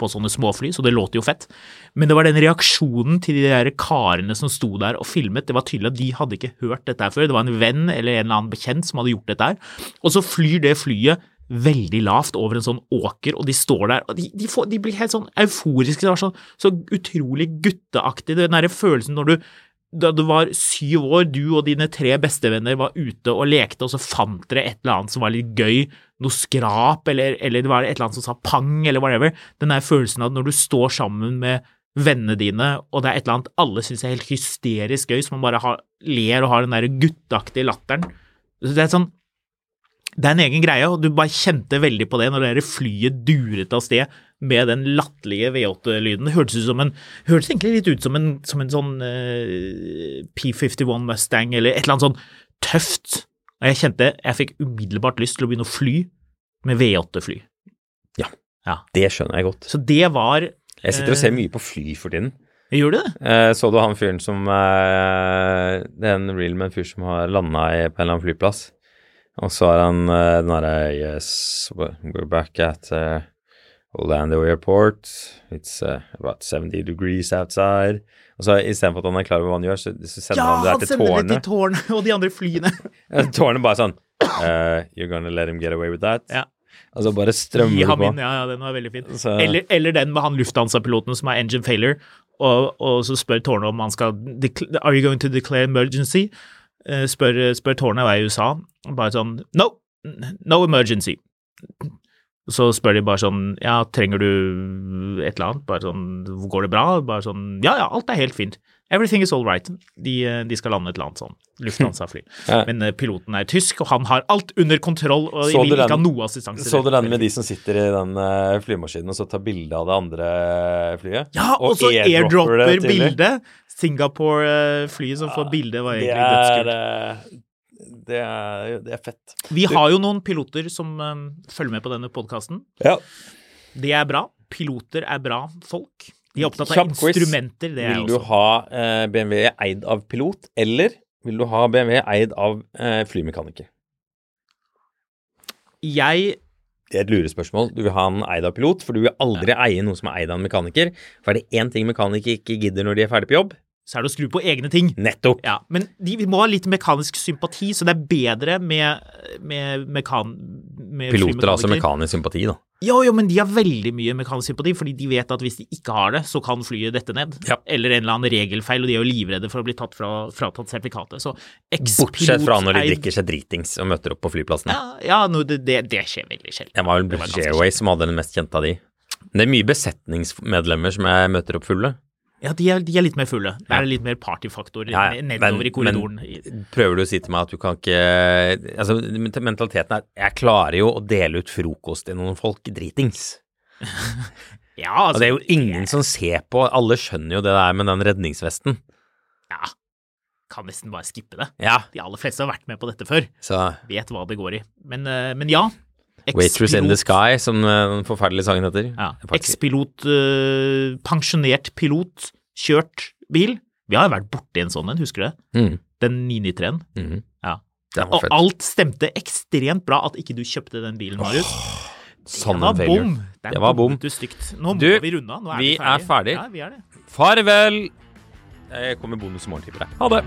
S4: på sånne småfly, så det låter jo fett. Men det var den reaksjonen til de der karene som sto der og filmet. Det var tydelig at de hadde ikke hørt dette her før. Det var en venn eller en eller annen bekjent som hadde gjort dette her. Og så flyr det flyet veldig lavt over en sånn åker, og de står der, og de, de, får, de blir helt sånn euforiske. Det var sånn, så utrolig gutteaktig. Den derre følelsen når du da du var syv år, du og dine tre bestevenner var ute og lekte, og så fant dere et eller annet som var litt gøy, noe skrap, eller, eller det var et eller annet som sa pang, eller whatever. Den der følelsen av når du står sammen med vennene dine, og det er et eller annet alle syns er helt hysterisk gøy, som man bare har, ler og har den der gutteaktige latteren. Så Det er sånn det er en egen greie, og du bare kjente veldig på det når det der flyet duret av sted med den latterlige V8-lyden. Det hørtes, ut som en, hørtes egentlig litt ut som en, som en sånn eh, P51 Mustang eller et eller annet sånn tøft. Og jeg kjente jeg fikk umiddelbart lyst til å begynne å fly med V8-fly.
S3: Det skjønner jeg godt.
S4: Så det var
S3: Jeg sitter og ser mye på fly for tiden.
S4: Gjør du det?
S3: Eh, så du han fyren som eh, Det er en real med en fyr som har landa på en eller annen flyplass. Og så har han eh, den derre Yes, we're back at eh, Orlando Airport. It's eh, about 70 degrees outside. Og så istedenfor at han er klar over hva han gjør, så, så sender
S4: Ja,
S3: han det
S4: han
S3: her til
S4: sender det til
S3: tårnet.
S4: tårnet og de andre
S3: *laughs*
S4: flyene.
S3: Tårnet bare sånn eh, You're gonna let him get away with that?
S4: Ja.
S3: Og så bare strømmer
S4: Gi
S3: det
S4: ham
S3: på.
S4: inn, ja, ja, den var veldig fin.
S3: Så-
S4: Eller, eller den med han Lufthansa-piloten som er engine failure, og, og så spør Tårnet om han skal dekl- Are you going to declare emergency? Eh, Spør, spør Tårnet hva er i USA, bare sånn No! No emergency. Så spør de bare sånn Ja, trenger du et eller annet? Bare sånn Går det bra? Bare sånn Ja, ja, alt er helt fint. Everything is all right. De, eh, de skal lande et eller annet sånn. Lufthansa-fly.
S3: *laughs* Ja.
S4: Men eh, piloten er tysk, og han har alt under kontroll og
S3: Så
S4: vil
S3: du
S4: ikke ha
S3: den-
S4: noe assistanse.
S3: Så du den med de som sitter i den eh, flymaskinen og så tar bilde av det andre eh, flyet?
S4: Ja, og så
S3: airdropper
S4: airdropper
S3: det til dem?
S4: bildet. Singapore-flyet som får bilde, var
S3: Det
S4: egentlig
S3: er,
S4: dødskult.
S3: eh, det, er, det er fett.
S4: Vi har jo noen piloter som eh, følger med på denne podkasten.
S3: Ja.
S4: Det er bra. Piloter er bra folk. De er opptatt av
S3: Kjapp quiz.
S4: instrumenter, det er
S3: Vil
S4: jeg
S3: du
S4: også.
S3: ha eh, BMW eid av pilot, eller vil du ha BMW eid av eh, flymekaniker?
S4: Jeg
S3: Det er et lurespørsmål. Du vil ha den eid av pilot, for du vil aldri eie noe som er eid av en mekaniker. For er det én ting mekanikere ikke gidder når de er ferdig på jobb?
S4: Så er det å skru på egne ting.
S3: Nettopp!
S4: Ja, men de, vi må ha litt mekanisk sympati, så det er bedre med, med, mekan, med
S3: Piloter har altså
S4: flymekaniker.
S3: mekanisk sympati, da.
S4: Jo, jo, men de har veldig mye mekanisk sympati, fordi de vet at hvis de ikke har det, så kan flyet dette ned.
S3: Ja.
S4: Eller en eller annen regelfeil, og de er jo livredde for å bli tatt fra, fratatt sertifikatet. Så
S3: Bortsett fra når de
S4: ekspiloteid-
S3: drikker seg dritings og møter opp på flyplassen.
S4: Ja, ja no, det, det, det skjer veldig sjelden.
S3: Det var vel
S4: Det var
S3: British
S4: ganske
S3: Airways som hadde den mest kjente av de. Men Det er mye besetningsmedlemmer som jeg møter opp fulle.
S4: Ja, de er, de er litt mer fulle. Der er det litt mer partyfaktor
S3: Ja, ja,
S4: nedover
S3: men-
S4: i korridoren.
S3: Prøver du å si til meg at du kan ikke Altså, mentaliteten er jeg klarer jo å dele ut frokost til noen folk dritings.
S4: ja,
S3: Og
S4: altså,
S3: det er jo ingen som ser på. Alle skjønner jo det der med den redningsvesten.
S4: ja, kan nesten bare skippe det.
S3: Ja,
S4: De aller fleste har vært med på dette før,
S3: så
S4: vet hva det går i. Men, eh, men ja.
S3: Waitress in the Sky,
S4: ekspilot-
S3: som eh, den forferdelige sangen heter.
S4: Ja.
S3: Faktisk.
S4: Ekspilot, eh, pensjonert pilot, kjørt bil. Vi har jo vært borti en sånn en, husker du det?
S3: Mm,
S4: Den 993-en.
S3: mhm.
S4: Ja.
S3: Den var
S4: Og
S3: fett.
S4: alt stemte ekstremt bra at ikke du kjøpte den bilen, Marius.
S3: Sånn
S4: det var
S3: en failure.
S4: bom! Der
S3: Det var bom.
S4: bommet Du stygt. Nå må
S3: Du,
S4: vi runde av. Nå er
S3: vi
S4: vi ferdig.
S3: er ferdig.
S4: Ja, vi er det.
S3: Farvel! Jeg kommer bonus i morgen, tipper jeg. Ha det!